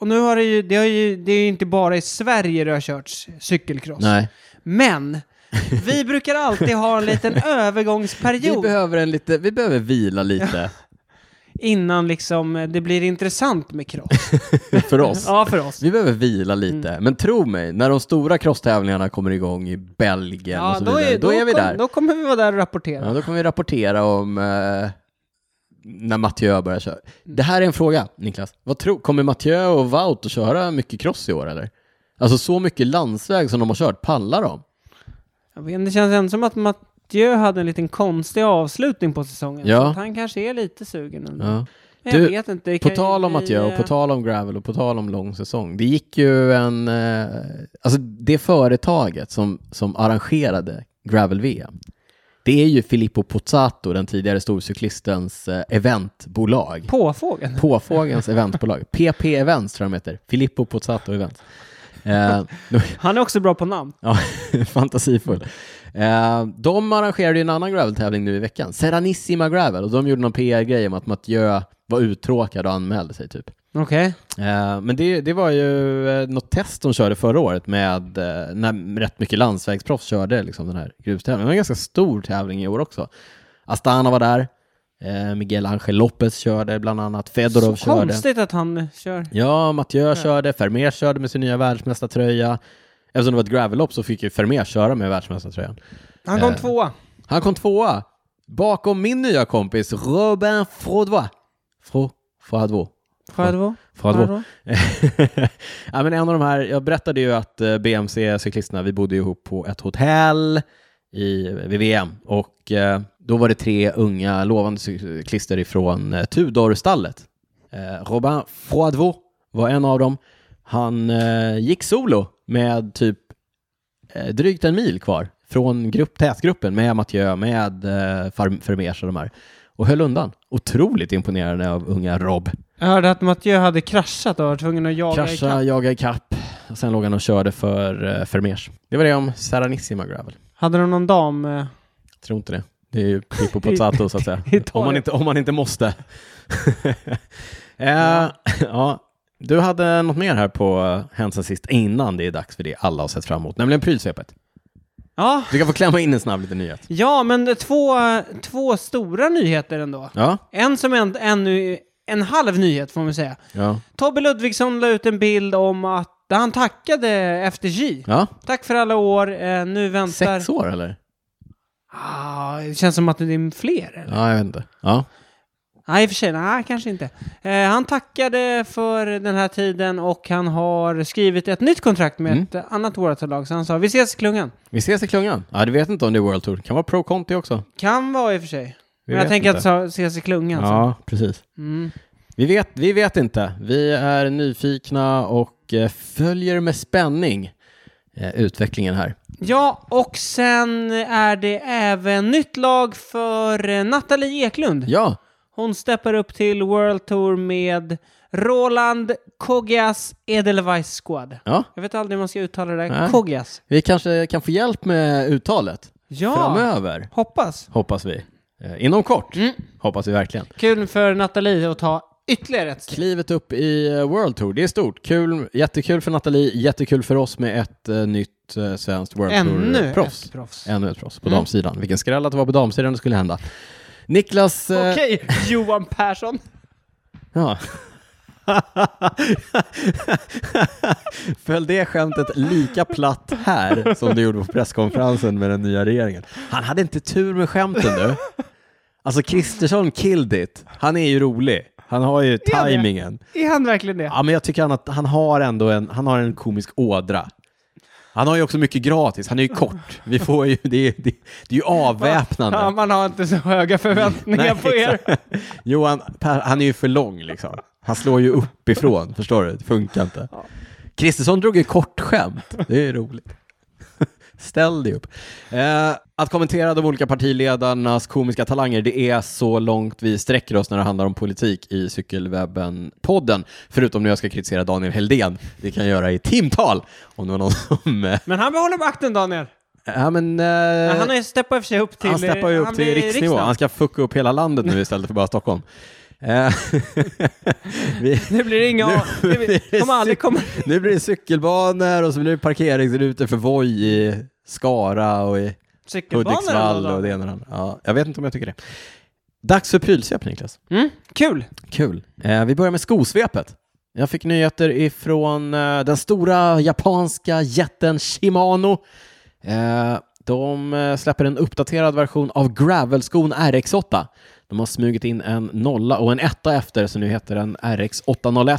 Och nu har det ju, det har ju, det är ju inte bara i Sverige det har körts cykelcross. Nej. <laughs> Men vi brukar alltid ha en liten Vi övergångsperiod. behöver, en lite, vi behöver vila lite <laughs> innan liksom eh, det blir intressant med <laughs> cross. för oss. ja, Mm. för oss. Vi behöver vila lite. Men tro mig, när de stora crosstävlingarna kommer igång i Belgien och Ja, så vidare, då, är vi kom, där. Då kommer vi vara där och rapportera. Ja, då kommer vi rapportera om eh, när Mathieu börjar köra. Mm. Det här är en fråga, Niklas. Vad tror, kommer Mathieu och Wout att köra mycket cross i år eller? Alltså så mycket landsväg som de har kört, pallar de? Jag vet, inte, det känns ändå som att Mathieu hade en liten konstig avslutning på säsongen. Ja. Så att han kanske är lite sugen. ändå. Ja. Men jag Du, vet inte. det På kan ju tal om bli, Mathieu, och eh, på tal om Gravel och på tal om lång säsong. Det gick ju en... Eh, alltså det företaget som, som arrangerade Gravel-VM, det är ju Filippo Pozzato, den tidigare storcyklistens eh, eventbolag. Påfågeln. <laughs> Påfågens eventbolag. PP Events tror jag de heter. Filippo Pozzato Events. Eh, <laughs> de- Han är också bra på namn. ja, <laughs> fantasifull. Eh, de arrangerade ju en annan graveltävling nu i veckan. Seranissima Gravel. Och de gjorde någon PR-grej om att Mathieu var uttråkad och anmälde sig typ. Okej. Eh, Men det, det var ju eh, något test de körde förra året med eh, när rätt mycket landsvägsproffs körde liksom den här grustävlingen. Det var en ganska stor tävling i år också. Astana var där, eh, Miguel Angel Lopez körde bland annat, Fedorov Så körde. konstigt att han kör. Ja, Mathieu körde, Vermeer körde med sin nya världsmästartröja. Eftersom det var ett gravellopp så fick ju Vermeer köra med världsmästartröjan. Han kom Eh. tvåa. Han kom tvåa bakom min nya kompis Robin Frodois. Fro, Frodois. Själv Frodois. <laughs> ja, men en av de här, jag berättade ju att eh, BMC-cyklisterna, vi bodde ju ihop på ett hotell i vid VM och eh, då var det tre unga lovande cyklister ifrån eh, Tudor-stallet. Eh, Robin Froidvaux var en av dem. Han eh, gick solo med typ eh, drygt en mil kvar från grupp, tätgruppen med Mathieu, med eh, Farm- Vermeers och de här och höll undan. Otroligt imponerande av unga Rob. Jag hörde att Mathieu hade kraschat och var tvungen att jaga Krascha, ikapp. jaga ikapp. Och sen låg han och körde för eh, Vermeers. Det var det om Seranissima Gravel. Hade de någon dam? <laughs> eh, Tror inte det. Det är ju Pippo Pozzato så att säga. Italien. Om man inte, om man inte måste. <laughs> eh, <laughs> ja. Du hade något mer här på eh, Hänt sen sist innan det är dags för det alla har sett fram emot, nämligen prylsvepet. Ja, Du kan få klämma in en snabb liten nyhet. Ja, men det är två, två stora nyheter ändå. Ja, En som är en, ännu en halv nyhet får man säga. ja, Tobbe Ludvigsson la ut en bild om att där han tackade FDJ. ja. Tack för alla år, eh, nu väntar... Sex år eller? Ah, det känns som att det är fler. eller? Ja, jag vet inte. Ja, Nej, i och för sig, nej, kanske inte. Eh, han tackade för den här tiden och han har skrivit ett nytt kontrakt med Mm. ett annat Waratah-lag. Så han sa, vi ses i klungan. Vi ses i klungan. Ja, du vet inte om det är World Tour. Kan vara Pro Conti också. Kan vara i och för sig. Vi Men jag vet tänker inte. att sa- ses i klungan. Så. Ja, precis. Alltså. Mm. Vi vet, vi vet inte. Vi är nyfikna och eh, följer med spänning eh, utvecklingen här. ja, och sen är det även nytt lag för eh, Nathalie Eklund. Ja, Hon steppar upp till World Tour med Roland Kogias Edelweiss Squad. ja. Jag vet aldrig hur man ska uttala det där. Nej. Kogias. Vi kanske kan få hjälp med uttalet Ja, framöver, hoppas. hoppas vi. Eh, Inom kort, Mm. hoppas vi verkligen. Kul för Nathalie att ta ytterligare ett steg. Klivet upp i eh, World Tour, det är stort. Kul, jättekul för Nathalie, jättekul för oss med ett eh, nytt eh, svenskt World Ännu Tour-proffs. ett proffs. Ännu ett proffs på Mm. damsidan. Vilken skräll att det var på damsidan det skulle hända. Niklas... eh, Okej, Johan Persson. Ja. <laughs> Föll det skämtet lika platt här som det gjorde på presskonferensen med den nya regeringen? Han hade inte tur med skämten du. Alltså Kristersson killed it. Han är ju rolig. Han har ju han det? tajmingen. <laughs> Är han verkligen det? Ja, men jag tycker han att han har ändå en, han har en komisk ådra. Han har ju också mycket gratis. Han är ju kort. Vi får ju, det är, det, det är ju avväpnande. <laughs> Ja, man har inte så höga förväntningar <laughs> Nej, på er. exakt. Johan, Per, han är ju för lång liksom. Han slår ju uppifrån, <laughs> förstår du? Det funkar inte. Kristersson drog ju kortskämt. Det är ju roligt. <laughs> Ställ dig upp. Eh, att kommentera de olika partiledarnas komiska talanger, det är så långt vi sträcker oss när det handlar om politik i Cykelwebben-podden. Förutom när jag ska kritisera Daniel Heldén. Det kan jag göra i timtal. Om det var någon som... eh, Men han behåller makten, Daniel. Ja, men, eh, han har ju steppat i och för sig upp till... han steppar ju upp till blir riksnivå. <laughs> Han ska fucka upp hela landet nu istället för bara Stockholm. Eh, <laughs> vi, Det blir inga... Nu- det blir, kommer aldrig komma... nu blir det cykelbanor och så blir det parkeringsrutor för Voi i Skara och i Cykelbanor Hudiksvall då, och det då. ena och det andra. Ja, jag vet inte om jag tycker det. Dags för prylsvep Niklas. Mm, kul! Kul. Eh, vi börjar med skosvepet. Jag fick nyheter ifrån eh, den stora japanska jätten Shimano. Eh, de eh, släpper en uppdaterad version av gravelskon RX8. De har smugit in en nolla och en etta efter, så nu heter den RX801.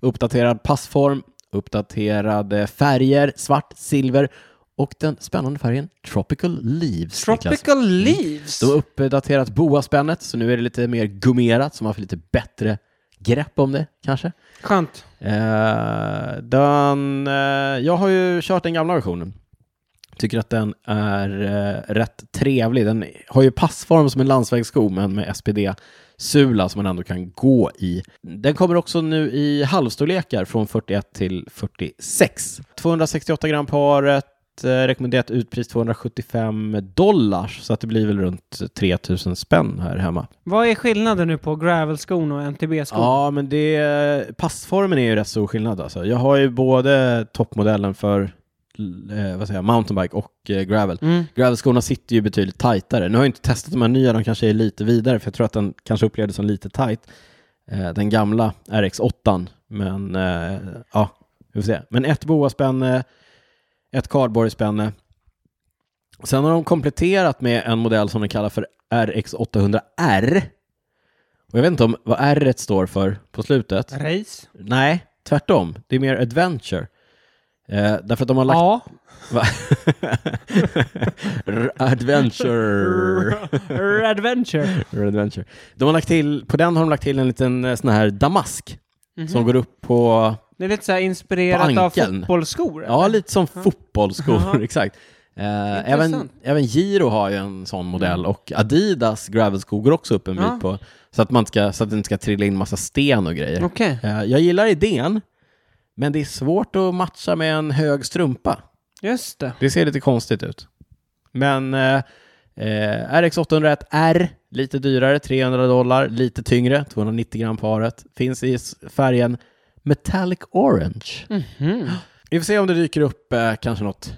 Uppdaterad passform, uppdaterade färger, svart, silver och den spännande färgen Tropical Leaves. Niklas. Tropical Leaves! De har uppdaterat boaspännet, så nu är det lite mer gummerat, så man får lite bättre grepp om det kanske. Skönt. Eh, den, eh, jag har ju kört den gamla versionen. Tycker att den är eh, rätt trevlig. Den har ju passform som en landsvägssko, men med SPD-sula som man ändå kan gå i. Den kommer också nu i halvstorlekar från 41 till 46. 268 gram paret. eh, Rekommenderat utpris 275 dollar, så att det blir väl runt 3000 spänn här hemma. Vad är skillnaden nu på gravelskon och MTB-skon? Ja, men det, passformen är ju rätt stor skillnad. Alltså. Jag har ju både toppmodellen för eh, vad säger jag, mountainbike och eh, gravel. Mm. Gravelskorna sitter ju betydligt tajtare. Nu har jag inte testat de här nya, de kanske är lite vidare, för jag tror att den kanske upplevdes som lite tajt, eh, den gamla RX8. Men eh, ja, vi får se. Men ett boaspänne, ett cardboardspänne. Sen har de kompletterat med en modell som de kallar för RX800R. Och jag vet inte om vad R står för på slutet. Race? Nej, tvärtom. Det är mer adventure. Eh, därför att de har lagt <laughs> Ja. Va? R- Adventure. R- Adventure. R- Adventure. De har lagt till, på den har de lagt till en liten eh, sån här damask som går upp på, Det är lite så här inspirerat av Banken. fotbollsskor. eller? ja lite som fotbollsskor, Jaha. <laughs> exakt. Eh, även, Intressant. Mm. även Giro har ju en sån modell och Adidas gravelskor går också upp en bit Ja. på, så att, man inte ska, så att det inte ska trilla in massa sten och grejer. Okej. Eh, jag gillar idén, men det är svårt att matcha med en hög strumpa. Just det. Det ser lite konstigt ut. Men eh, eh, RX801 R, lite dyrare, 300 dollar, lite tyngre, 290 gram paret. Finns i s- färgen Metallic Orange. Mhm. Vi får se om det dyker upp eh, kanske något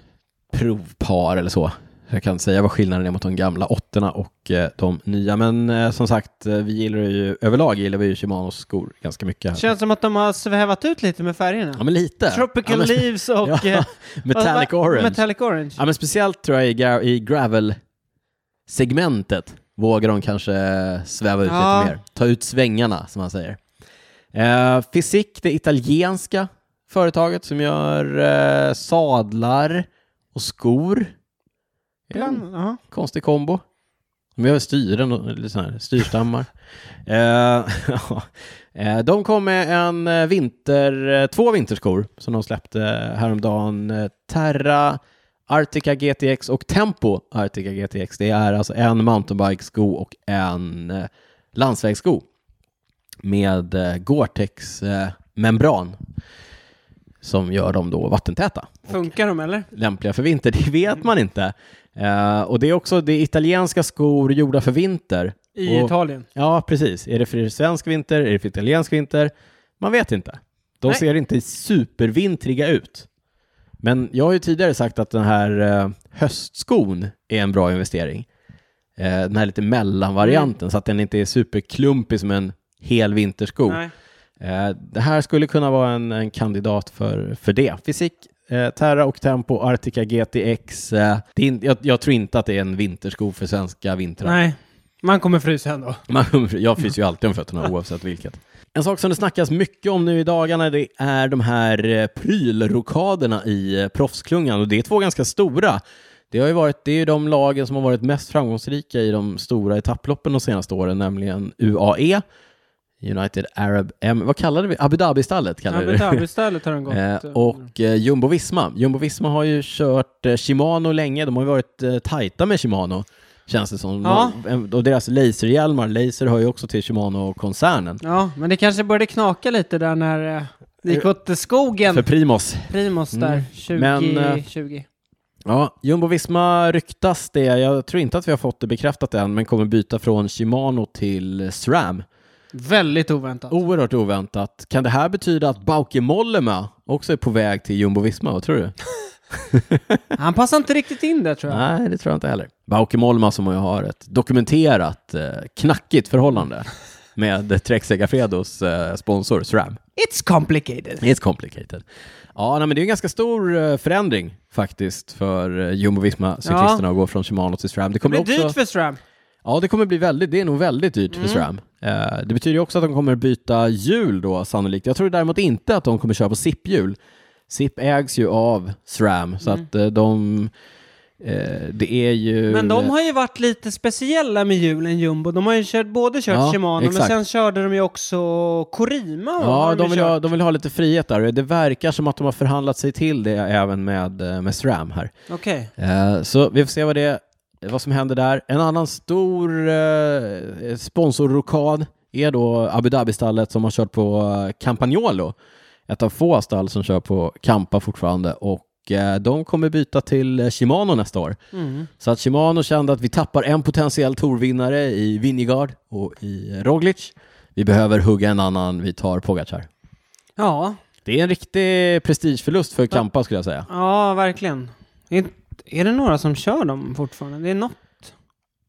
provpar eller så. Jag kan inte säga vad skillnaden är mot de gamla åttorna och eh, de nya. Men eh, som sagt, eh, vi gillar ju, överlag gillar vi ju Shimanos skor ganska mycket. Här. Känns som att de har svävat ut lite med färgerna. Ja, men lite. Tropical ja, men, Leaves och... Ja, eh, <laughs> Metallic vad- Orange. Metallic Orange. Ja, men speciellt tror jag i, gra- i gravel-segmentet vågar de kanske sväva ut Ja. lite mer. Ta ut svängarna, som man säger. Eh, Fisic, det italienska företaget som gör eh, sadlar och skor. Det är en Bland, ja. Konstig kombo. De gör styren och lite sån här, styrstammar. Eh, <laughs> ja. Eh, de kom med en eh, vinter, eh, två vinterskor som de släppte häromdagen. Eh, Terra Artica GTX och Tempo Artica GTX. Det är alltså en mountainbike-sko och en eh, landsvägssko med eh, Gore-Tex eh, membran som gör dem då vattentäta Funkar de eller? lämpliga för vinter, <laughs> det vet man inte. Eh, och det är också det är italienska skor gjorda för vinter. I och, Italien. Ja, precis. Är det för svensk vinter? Är det för italiensk vinter? Man vet inte. De Nej. ser inte supervintriga ut. Men jag har ju tidigare sagt att den här eh, höstskon är en bra investering. Eh, den här lite mellanvarianten, Mm. så att den inte är superklumpig som en hel vintersko. Nej. Eh, Det här skulle kunna vara en, en kandidat för, för det. Fysik, eh, Terra och Tempo, Artica GTX. Eh, det är, in- jag, jag tror inte att det är en vintersko för svenska vintrar. Nej. Man kommer frysa ändå. Man, <laughs> jag fryser ju alltid om fötterna oavsett vilket. En sak som det snackas mycket om nu i dagarna det är de här eh, prylrokaderna i eh, proffsklungan och det är två ganska stora. Det, har ju varit, det är ju de lagen som har varit mest framgångsrika i de stora etapploppen de senaste åren, nämligen UAE, United Arab Em... Vad kallade vi Abu Dhabi-stallet kallade vi <laughs> Abu det. Dhabi-stället har den gått. Eh, och eh, Jumbo Visma. Jumbo Visma har ju kört eh, Shimano länge. De har ju varit eh, tajta med Shimano, känns det som. Ja. De, eh, och deras laserhjälmar, laser hör ju också till Shimano-koncernen. Ja, men det kanske började knaka lite där när eh, det gick åt skogen. För Primos. Primus där, Mm. Men, eh, 2020. Ja, Jumbo Visma ryktas det. Jag tror inte att vi har fått det bekräftat än, men kommer byta från Shimano till SRAM. Väldigt oväntat. Oerhört oväntat. Kan det här betyda att Bauke Mollema också är på väg till Jumbo Visma? Vad tror du? Han passar inte riktigt in där tror jag. Nej, det tror jag inte heller. Bauke Molma som ju har ett dokumenterat eh, <laughs> knackigt förhållande med Trek Segafredos eh, sponsor SRAM. It's complicated. It's complicated. Ja, nej, men det är en ganska stor eh, förändring faktiskt för eh, Jumbo Visma-cyklisterna att gå från Shimano till SRAM. Det Det kommer blir också... dyrt för Mm. SRAM. Ja, det kommer bli väldigt, det är nog väldigt dyrt för SRAM. Eh, det betyder ju också att de kommer byta hjul då sannolikt. Jag tror däremot inte att de kommer köra på SIP-hjul. SIP ägs ju av SRAM, så Mm. att eh, de... eh, det är ju... Men de har ju varit lite speciella med hjulen Jumbo. De har ju kört, både kört Ja, Shimano, men exakt. sen körde de ju också Corima. va? Ja, Har de ju vill, ha, kört. de vill ha lite frihet där. Det verkar som att de har förhandlat sig till det även med, eh, med SRAM här. Okej. Eh, Så vi får se vad, det, vad som händer där. En annan stor eh, sponsorrokad är då Abu Dhabi-stallet som har kört på eh, Campagnolo. Ett av få stall som kör på Campa fortfarande och eh, de kommer byta till eh, Shimano nästa år. Mm. Så att Shimano kände att vi tappar en potentiell torvinnare i Vingegaard och i eh, Roglic. Vi behöver hugga en annan, vi tar Pogacar. Ja, Det är en riktig prestigeförlust för Kampa skulle jag säga. ja verkligen. Är, är det några som kör dem fortfarande? Det är något.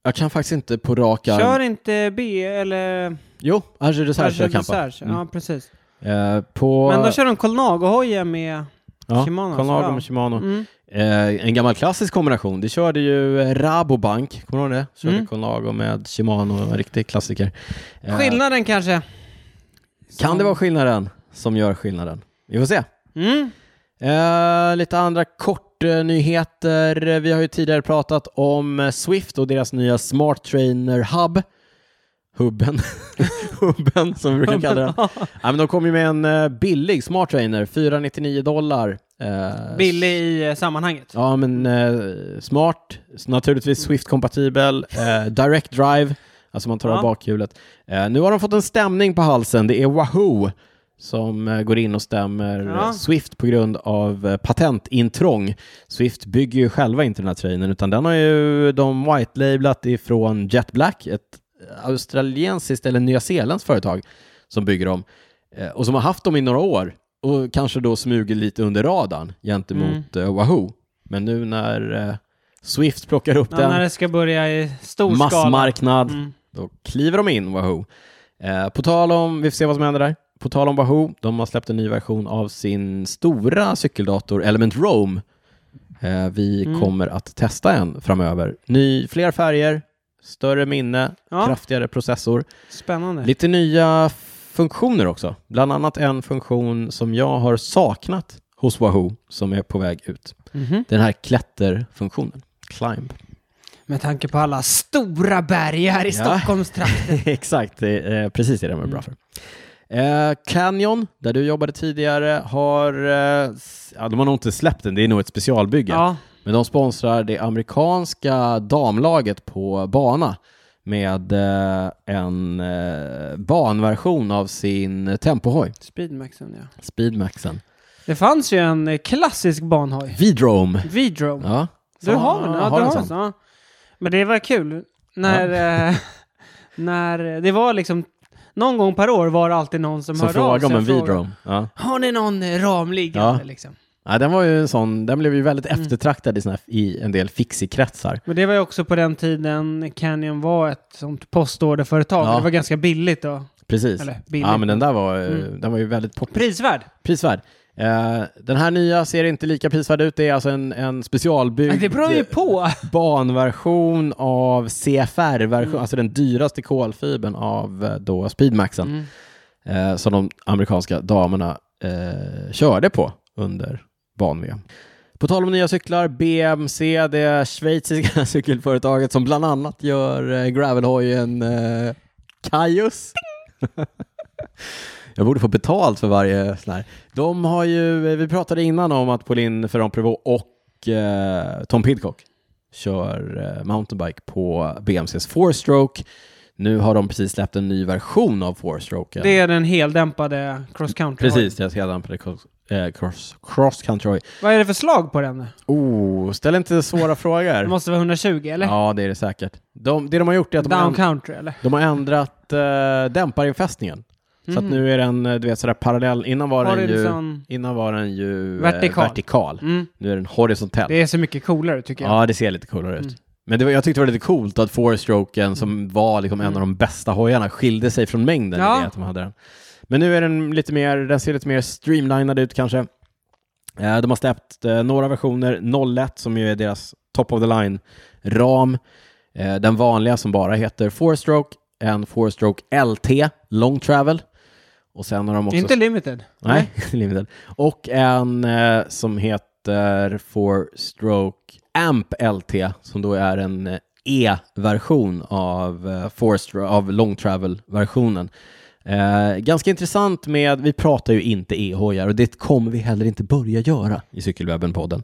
Jag kan faktiskt inte på rak arm. Kör inte B eller... Jo, Arger Dessert kör Archer Kampa. Mm. Desserts. Ja, precis. Eh, på... Men då kör de Colnago-hoja med... ja, Shimano, Colnago så, ja. med Shimano. Mm. Eh, en gammal klassisk kombination. Det körde ju eh, Rabobank, kommer du ihåg det? Körde Mm. Colnago med Shimano, en riktig klassiker. Eh, Skillnaden kanske. Kan det vara skillnaden som gör skillnaden? Vi får se. Mm. Eh, lite andra kortnyheter. Vi har ju tidigare pratat om eh, Swift och deras nya Smart Trainer Hub. Hubben. <laughs> Hubben som vi brukar kalla den. ja, men de kom ju med en eh, billig Smart Trainer, 499 dollar. Eh, Billig i eh, sammanhanget. Ja, men eh, smart, s- naturligtvis Swift-kompatibel, eh, direct drive, alltså man tar av Ja. bakhjulet. Eh, nu har de fått en stämning på halsen, det är Wahoo som eh, går in och stämmer Ja. eh, Swift på grund av eh, patentintrång. Swift bygger ju själva inte den här trainern, utan den har ju de white-lablat ifrån Jet Black, ett australiensiskt eller nyzeeländskt företag som bygger dem eh, och som har haft dem i några år och kanske då smugit lite under radarn gentemot Mm. eh, Wahoo. Men nu när eh, Swift plockar upp Ja, den, när det ska börja i stor skala. massmarknad, Mm. då kliver de in Wahoo. Eh, på tal om, vi får se vad som händer där. På tal om Wahoo, de har släppt en ny version av sin stora cykeldator Element Roam. Eh, vi Mm. kommer att testa en framöver. Ny, fler färger, Större minne, Ja. kraftigare processor. Spännande. Lite nya funktioner också. Bland annat en funktion som jag har saknat hos Wahoo som är på väg ut. Mhm. Den här klätterfunktionen. Climb. Med tanke på alla stora berg här i Ja. Stockholmstrakten. <laughs> Exakt, det är, eh, precis det den var Mm. bra för. Eh, Canyon, där du jobbade tidigare, har... Eh, s- ja, de har nog inte släppt den, det är nog ett specialbygge. Ja. Men de sponsrar det amerikanska damlaget på bana med eh, en eh, banversion av sin tempohoj, Speedmaxen ja. Speedmaxen. Det fanns ju en eh, klassisk banhoj. Vidrome. Vidrome. Ja. Du har den? Ja, Ja, har du en har den. sån. Ja. Men det var kul. När, eh, <laughs> när eh, det var liksom någon gång per år var det alltid någon som, Som hörde av frågar sig om en och frågade, Vidrome. Ja. Har ni någon eh, ram liggande Ja. liksom? Ja, den var ju en sån, den blev ju väldigt Mm. eftertraktad i, såna här, i en del fixikretsar. Men det var ju också på den tiden Canyon var ett sånt postorderföretag. Ja. Det var ganska billigt då. Precis. Eller Mm. billigt. ja, men den där var, eh, den var ju väldigt pop- Prisvärd. prisvärd. Eh, den här nya ser inte lika prisvärd ut. Det är alltså en, en specialbyggd... Det beror ju på. banversion av CFR-version, Mm. alltså den dyraste kolfibern av eh, då Speedmaxen, eh, som de amerikanska damerna eh, körde på under ban-VM. På tal om nya cyklar, BMC, det schweiziska <laughs> cykelföretaget som bland annat gör eh, gravelhojen eh, Caius. <laughs> Jag borde få betalt för varje sån här. De har ju, eh, vi pratade innan om att Pauline Ferrand-Prevot och eh, Tom Pidcock kör eh, mountainbike på BMCs four-stroke. Nu har de precis släppt en ny version av four-stroken. Det är den heldämpade cross country. Precis, jag ser den på det cross, eh, cross, cross country. Vad är det för slag på den? Oh, ställ inte svåra <laughs> Det frågor. måste vara 120 eller? Ja, det är det säkert. De, det de har gjort är att de, har Down änd- country eller? de har ändrat eh, dämparinfästningen. Så att nu är den, eh, du vet, sådär parallell. Innan var, Mm. Har den det ju, liksom- innan var den ju eh, Vertikal. vertikal. Mm. Nu är den horisontell. Det är så mycket coolare tycker jag. Mm. Ja, det ser lite coolare ut. Men det var, jag tyckte det var lite coolt att fourstroken som var liksom en av de bästa hojarna skilde sig från mängden i Mm. Ja. det att de hade den. Men nu är den lite mer, den ser lite mer streamlinad ut kanske. Eh, De har släppt eh, några versioner, 01 som ju är deras top of the line ram. Eh, Den vanliga som bara heter fourstroke, en fourstroke LT, long travel. Och sen har de också Inte limited. Nej, <laughs> limited. Och en eh, som heter Four Stroke Amp LT som då är en eh, E-version av, eh, four stro- av Long Travel-versionen. Eh, ganska intressant med, vi pratar ju inte e-hojar och det kommer vi heller inte börja göra i Cykelwebben-podden.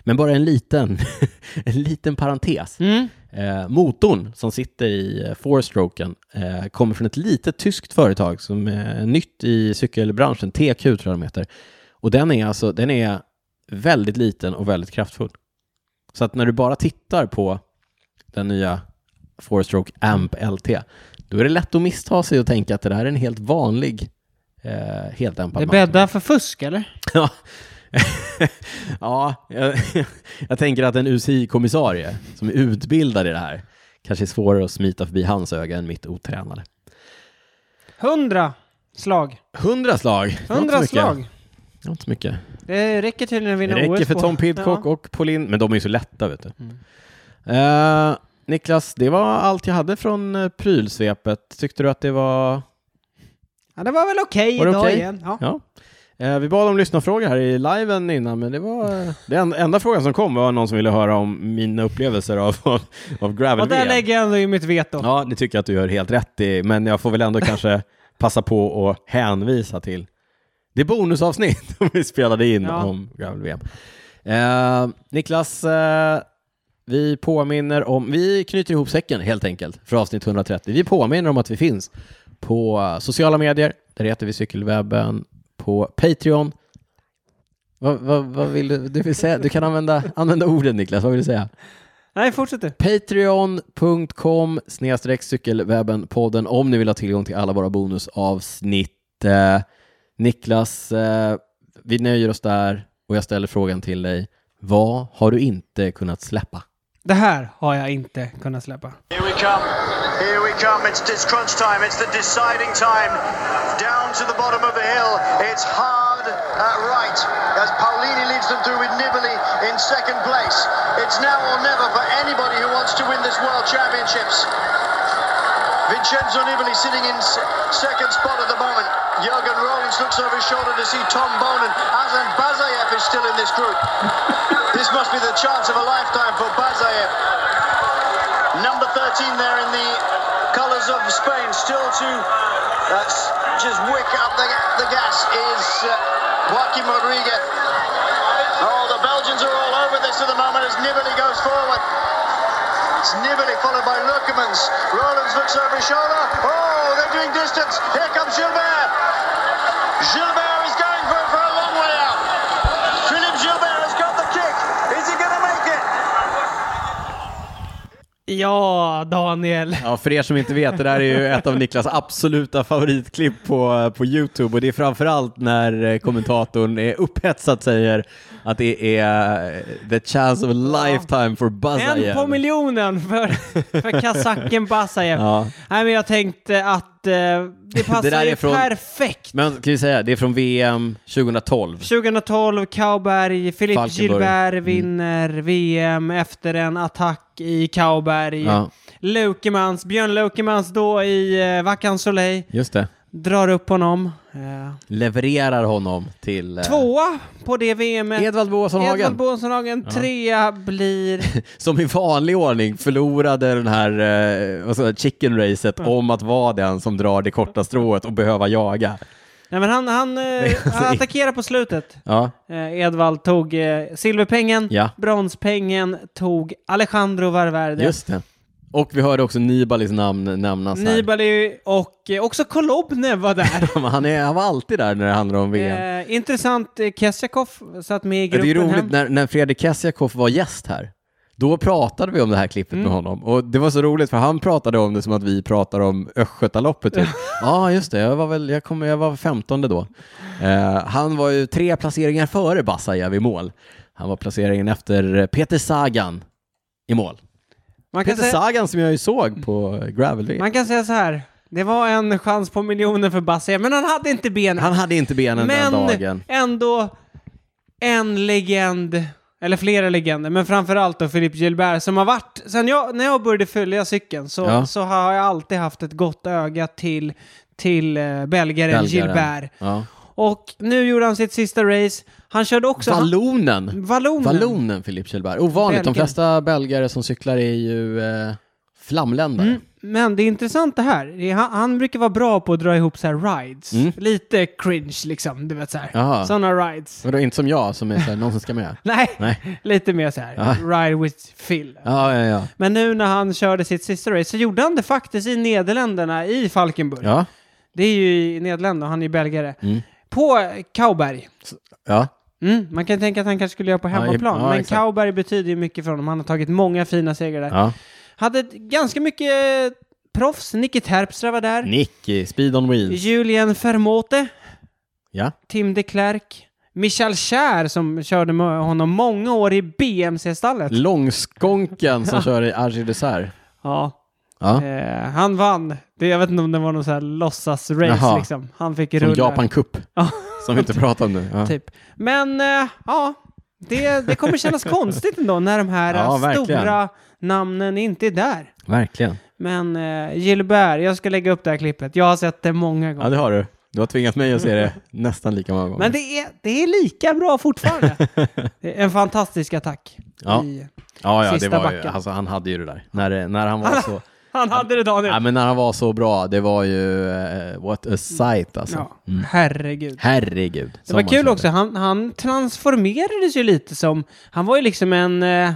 Men bara en liten, <laughs> en liten parentes. Mm. Eh, motorn som sitter i eh, fourstroken eh, kommer från ett litet tyskt företag som är nytt i cykelbranschen, TQ tror jag de heter. Och den är alltså, den är väldigt liten och väldigt kraftfull. Så att när du bara tittar på den nya fourstroke Amp LT, då är det lätt att missta sig och tänka att det där är en helt vanlig eh, heldämpad Det mountainbike. bäddar för fusk eller? <laughs> Ja, ja jag, jag tänker att en UCI-kommissarie som är utbildad i det här kanske är svårare att smita förbi hans öga än mitt otränade. 100 slag. Hundra slag! Det var inte 100 mycket. slag. Det var inte mycket. Det räcker tydligen att Det vinna räcker OS för på. Tom Pidcock Ja. Mm. och Pauline, men de är ju så lätta vet du. Eh, Niklas, det var allt jag hade från eh, prylsvepet. Tyckte du att det var... Ja, det var väl okej Var det idag okej? igen. Ja. Ja. Eh, vi bad om lyssnarfrågor här i liven innan, men det var... eh, Den enda frågan som kom var någon som ville höra om mina upplevelser av, <laughs> av, av gravel Och där lägger jag ändå i mitt veto. Ja, det tycker jag att du gör helt rätt i, men jag får väl ändå kanske passa på att hänvisa till det bonusavsnitt <laughs> som vi spelade in Ja. om Gravel-VM. Eh, Niklas, eh, vi påminner om, vi knyter ihop säcken helt enkelt för avsnitt 130. Vi påminner om att vi finns på eh, sociala medier, där heter vi Cykelwebben, på Patreon. Vad, vad, vad vill du, du, vill säga? du kan använda, använda orden Niklas, vad vill du säga? Nej, fortsätt du. Patreon.com snedstreck cykelwebben-podden om ni vill ha tillgång till alla våra bonusavsnitt. Eh, Niklas, eh, vi nöjer oss där och jag ställer frågan till dig. Vad har du inte kunnat släppa? Det här har jag inte kunnat släppa. Here we come. Here we come. It's, it's crunch time. It's the deciding time. Down to the bottom of the hill. It's hard at right as Pauline Maldini leads them through with Nibali in second place. It's now or never for anybody who wants to win this World Championships. Vincenzo Nibali sitting in se- second spot at the moment. Jurgen Rollins looks over his shoulder to see Tom Bonin. Azan Bazayev is still in this group. this must be the chance of a lifetime for Bazayev. Number 13 there in the colours of Spain, still to uh, s- just wick up the, the gas is uh, Joaquin Rodriguez. Oh, the Belgians are all over this at the moment as Nibali goes forward. It's Nibali followed by Lurkemans. Rollins looks over his shoulder. Oh, they're doing distance. Here comes Gilbert. Gilbert is going for, for a long way out. Philippe Gilbert has got the kick. Is he going to make it? Ja, Daniel. Ja, för er som inte vet, det där är ju ett av Niklas absoluta favoritklipp på, på YouTube och det är framförallt när eh, kommentatorn är upphetsad säger att det är eh, the chance of a lifetime for En på Bazayev. miljonen för, för kazacken Basajev. <laughs> Ja. Nej, men jag tänkte att eh, <laughs> det passar där är ju från- perfekt. Men kan vi säga, det är från VM 2012. 2012, Kauberg, Filip Falkenberg. Gilbert vinner VM efter en attack i Kauberg. Ja. Leukemans, Björn Leukemans då i eh, Vacan Soleil Just det. drar upp honom. Eh, Levererar honom till... eh, tvåa på det VMet. Edvard Boasson Edvard Hagen, Båsenhagen. Trea blir... <laughs> som i vanlig ordning förlorade den här eh, vad sa jag, chicken racet om att vara den som drar det korta strået och behöva jaga. Nej men han, <laughs> han, eh, alltså, han attackerar på slutet. Ja, Eh, Edvald tog eh, silverpengen, Ja. bronspengen tog Alejandro Valverde. just det. Och vi hörde också Nibalis namn nämnas här. Nibali och eh, också Kolobne var där. <laughs> Han, är, han var alltid där när det handlar om VM. Eh, intressant, eh, Kessiakoff satt med i det är gruppen ju hem. roligt när, när Fredrik Kessiakoff var gäst här. Då pratade vi om det här klippet Mm. med honom och det var så roligt för han pratade om det som att vi pratar om <laughs> Östgötaloppet typ. Ja, just det. Jag var väl, jag kom, jag var femtonde då. Eh, han var ju tre placeringar före Basajev i mål. Han var placeringen efter Peter Sagan i mål. man, kan Peter säga, Sagan som jag ju såg på gravel Alltså- man kan säga så här, det var en chans på miljoner för Basse, men han hade inte benen. Han hade inte benen men den dagen. ändå en legend, eller flera legender, men framförallt då Philippe Gilbert som har varit, sen jag, när jag började följa cykeln så, Ja. så har jag alltid haft ett gott öga till, till eh, belgaren, Gilbert. Ja. Och nu gjorde han sitt sista race. Han körde också... Vallonen. Vallonen. Vallonen Filip Kjellberg. Ovanligt, de Belgien. flesta belgare som cyklar är ju eh, flamländare. Mm. Men det är intressant det här. Det är- Han, han brukar vara bra på att dra ihop så här rides. Lite cringe liksom, du vet så här. Mm. Jaha. Sådana rides. Vadå, inte som jag som är såhär, någon som ska med? Nej, <laughs> Nej. lite mer så här. Ride with Phil. Ja, ja, ja. Men nu när han körde sitt sista race så gjorde han det faktiskt i Nederländerna, i Falkenburg. Ja, Mm. Det är ju i Nederländerna, han är ju belgare. På Kauberg. ja. Mm, man kan tänka att han kanske skulle göra på i- hemmaplan, ja, men exakt. Kauberg betyder ju mycket för honom. Han har tagit många fina segrar där. ja. Hade ganska mycket eh, proffs. Nicky Terpstra var Mm. där. Nicky, Speed on Wheels. Julien Fermote, Ja. Tim de Klerk, Michel Kjær som körde med honom många år i BMC-stallet. Långskonken som kör i Argy Dessert. Ja, Ja. eh, han vann. Det, jag vet inte om det var någon så här låtsas-race Jaha. liksom. Han fick Som rulla. Japan Cup, Ja, som vi inte pratar om nu. Ja. typ. Men eh, ja, det, det kommer kännas konstigt ändå när de här eh, <laughs> Ja, verkligen. stora namnen inte är där. Verkligen. Men eh, Gilbert, jag ska lägga upp det här klippet. Jag har sett det många gånger. Ja, det har du. Du har tvingat mig att se det nästan lika många gånger. Men det är, det är lika bra <laughs> fortfarande. Det är en fantastisk attack. Ja. I, ja, ja, det sista var ju, backen. alltså, han hade ju det där. När, det- när han var så... han hade det Daniel. Ja, men när han var så bra, det var ju... eh, what a sight alltså. Ja, herregud. Herregud. Det var kul också, han, han transformerades ju lite som, han var ju liksom en eh,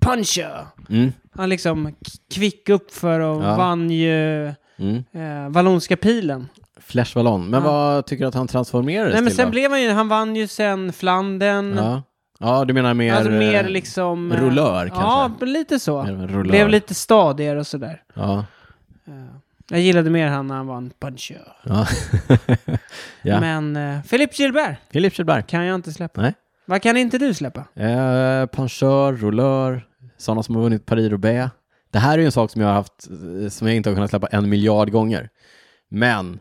puncher. Mm. Han liksom k- kvick upp för och Ja. vann ju Mm. eh, Vallonska pilen. Flash Vallon. Men vad tycker du att han transformerades Nej men till? sen då? blev han ju, han vann ju sen Flandern. ja. ja, du menar mer... Alltså mer eh, liksom... eh, rullör Ja, kanske? men lite så. Mer av en rullör. Blev lite stadigare och sådär. Ja. Jag gillade mer han när han var en puncher. ja. <laughs> ja. Men eh, Philip Gilbert Filip Kjellberg. kan jag inte släppa. Nej. Vad kan inte du släppa? Eh, penchör, rullör, sådana som har vunnit Paris-Roubaix. Det här är ju en sak som jag har haft, eh, som jag inte har kunnat släppa en miljard gånger. Men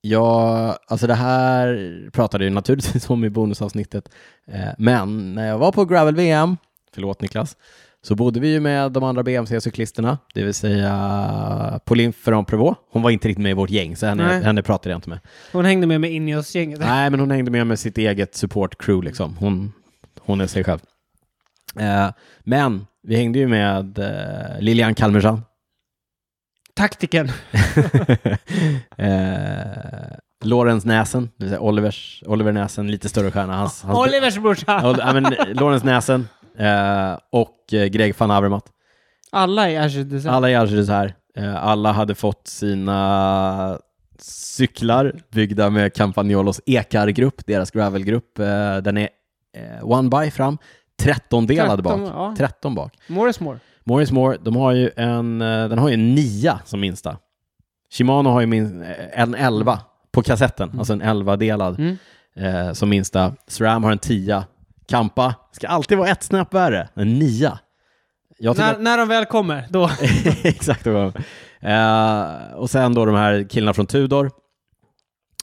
Ja, alltså det här pratade jag naturligtvis om i bonusavsnittet. Eh, Men när jag var på Gravel-VM, förlåt Niklas, så bodde vi ju med de andra BMC-cyklisterna, det vill säga Pauline Ferrand-Prévot. Hon var inte riktigt med i vårt gäng, så henne, Nej. henne pratade jag inte med. Hon hängde med mig in i oss gänget. Nej, men hon hängde med med sitt eget support-crew liksom. Hon, hon är sig själv. Eh, Men vi hängde ju med eh, Lilian Kalmersand. <laughs> Taktiken. eh, Lorenz Näsen, det vill säga Olivers, Oliver Näsen, lite större stjärna. Hans, hans, Olivers brorsa. Ja, men, Lorenz Näsen eh, och eh, Greg van Avermaet. Alla är Ashes Design. Alla i Algeriet här. Eh, alla hade fått sina cyklar byggda med Campagnolos Ekar-grupp, deras gravelgrupp. Eh, den är eh, one by fram, 13 delad 13, bak. ja. 13 bak. More is more. More is more, de har ju en, eh, den har ju en nia som minsta. Shimano har ju min, eh, en 11 på kassetten, alltså en 11-delad Mm. eh, som minsta. SRAM har en 10. Kampa ska alltid vara ett snäpp värre, en 9. Jag tycker När, när de väl kommer, <laughs> då. Exakt. det var det. Eh, och sen då de här killarna från Tudor.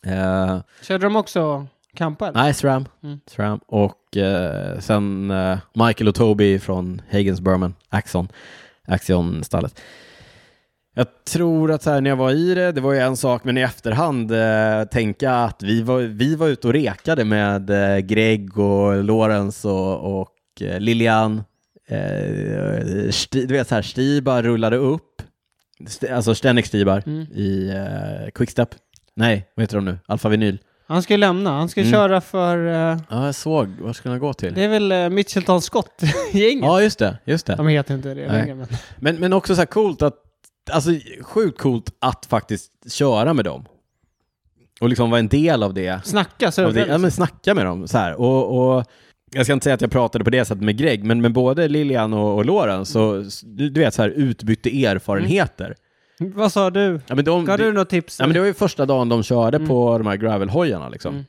Eh, Körde de också kampa? eller? nej, SRAM. Mm. SRAM. Och eh, sen eh, Michael och Toby från Hagens Berman, Axon. Axion-stallet. Jag tror att så här, när jag var i det, det var ju en sak, men i efterhand eh, tänka att vi var, vi var ute och rekade med eh, Greg och Lorenz och, och eh, Lilian. Eh, Sti, du vet så här, Stibar rullade upp, St- alltså Stenek Stibar Mm. i eh, Quickstep. Nej, vad heter de nu? Alfa Vinyl. Han ska ju lämna. Han ska Mm. köra för... eh, Ja, jag såg. Vad skulle han gå till? det är väl uh, Mitchelton Scott-gänget? Ja, just det. Just det. De heter inte det Nej. längre, men... Men, men också så här coolt att, alltså sjukt coolt att faktiskt köra med dem. Och liksom vara en del av det. Snacka Av det surfa. ja, men snacka med dem så här. Och, och, jag ska inte säga att jag pratade på det sättet med Greg, men, men både Lilian och, och Loren så, s- du, du vet, så här utbytte erfarenheter. Vad sa du? Ja, men de, Gav Mm. du något tips? Ja, men det var ju första dagen de körde på de här gravelhojarna liksom. Mm.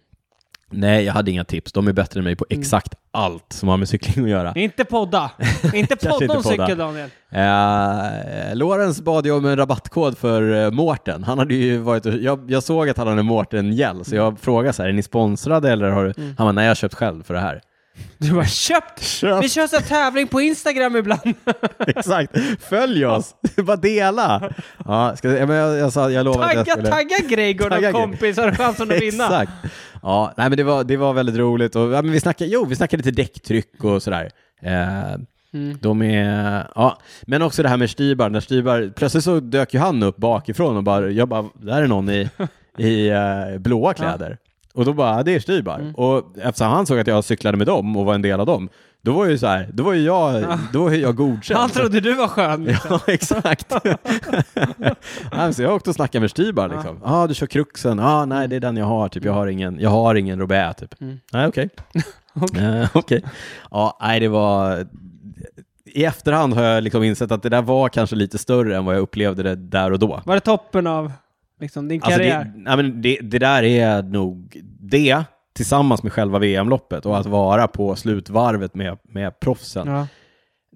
Nej, jag hade inga tips. De är bättre än mig på exakt allt som har med cykling att göra. Inte podda! <laughs> inte Kanske podda inte om podda. cykel, Daniel. Eh, Lorenz bad ju om en rabattkod för eh, Mårten. Han hade ju varit och, jag, jag såg att han hade en Mårten-gel, så jag frågade så här, är ni sponsrade eller har du? Han bara, nej jag har köpt själv för det här. Du har köpt! Vi Köpt, kör så här tävling på Instagram ibland. <laughs> exakt. Följ oss, <laughs> bara dela. Ja, ska, ja, men jag, jag, sa, jag lovade att jag Tagga, skulle... tagga Greg och Tagga någon Greg. kompis har du chansen <laughs> att vinna. Exakt. Ja, nej, men det, var, det var väldigt roligt. Och, ja, men vi, snackade, jo, vi snackade lite däcktryck och sådär. Eh, Mm. De är, ja. Men också det här med Stybar. När Stybar, plötsligt så dök ju han upp bakifrån och bara, jag bara, där är <laughs> någon i, i eh, blåa kläder. Och då bara, ja, det är Stybar. Mm. Och eftersom han såg att jag cyklade med dem och var en del av dem, då var ju så här, då var ju jag, då var <laughs> ju jag godkänd. Han trodde du var skön. Ja, <laughs> exakt. Nej, så jag åkte och snackade med Stibar. Liksom. Ja, ah, du kör kruxen. Ja, ah, nej, det är den jag har. Typ. Jag har ingen, jag har ingen Robert. Typ. Nej, okej. Eh, <laughs> Okej. Ja, nej, det var... I efterhand har jag liksom insett att det där var kanske lite större än vad jag upplevde det där och då. Var det toppen av liksom, din Alltså karriär? det, nej, men det, det där är nog det tillsammans med själva VM-loppet och att vara på slutvarvet med, med proffsen. Ja.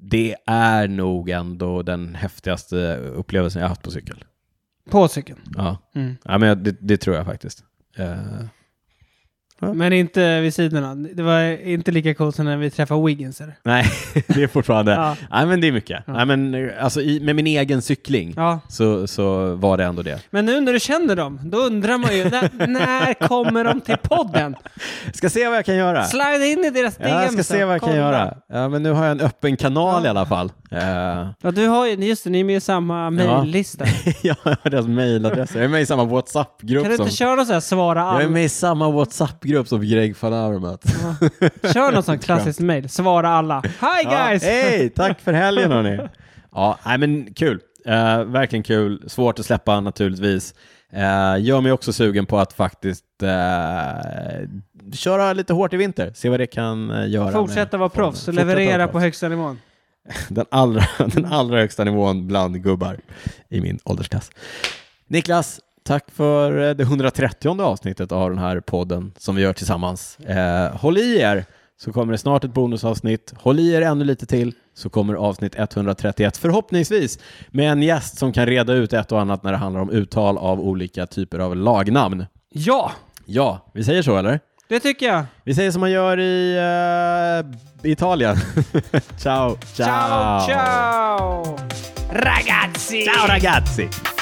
Det är nog ändå den häftigaste upplevelsen jag haft på cykel. På cykeln. Ja, Mm. ja men jag- det, det tror jag faktiskt. Eh, Men inte vid sidorna. Det var inte lika coolt som när vi träffade Wiggins. eller? nej, <laughs> det är fortfarande... Ja. Nej, men det är mycket. Nej, men, eh, alltså, i, med min egen cykling Ja. så, så var det ändå det. Men nu när du känner dem, då undrar man ju när, <laughs> när kommer de till podden? Ska se vad jag kan göra. Slide in i deras DM. Ja, jag ska så se vad jag kan kolla. göra. Ja, men nu har jag en öppen kanal i alla fall. Eh, <laughs> Ja, du har ju, just det, ni är med i samma mejllista. jag har deras mejladresser. Jag är med i samma WhatsApp-grupp Kan du som... inte köra någon sån här svara Jag är alla? med i samma WhatsApp-grupp som Greg van Avermaet. Kör någon sån <laughs> klassisk mejl, svara alla. Hi guys! Ja, <laughs> Hej, tack för helgen hörni. <laughs> Ja, nej men kul. Eh, verkligen kul. Svårt att släppa naturligtvis. Eh, gör mig också sugen på att faktiskt eh, köra lite hårt i vinter. Se vad det kan eh, göra. med Fortsätta vara formen. proffs och Fortsätta leverera vara på proffs. högsta nivån. den allra, <laughs> den allra högsta nivån bland gubbar i min åldersklass. Niklas, tack för eh, det 130 avsnittet av den här podden som vi gör tillsammans. Eh, håll i er så kommer det snart ett bonusavsnitt. Håll i er ännu lite till så kommer avsnitt 131 förhoppningsvis med en gäst som kan reda ut ett och annat när det handlar om uttal av olika typer av lagnamn. Ja, Ja, vi säger så eller? det tycker jag. Vi säger som man gör i eh, Italien. <laughs> ciao, ciao. ciao! ciao. Ragazzi! Ciao ragazzi!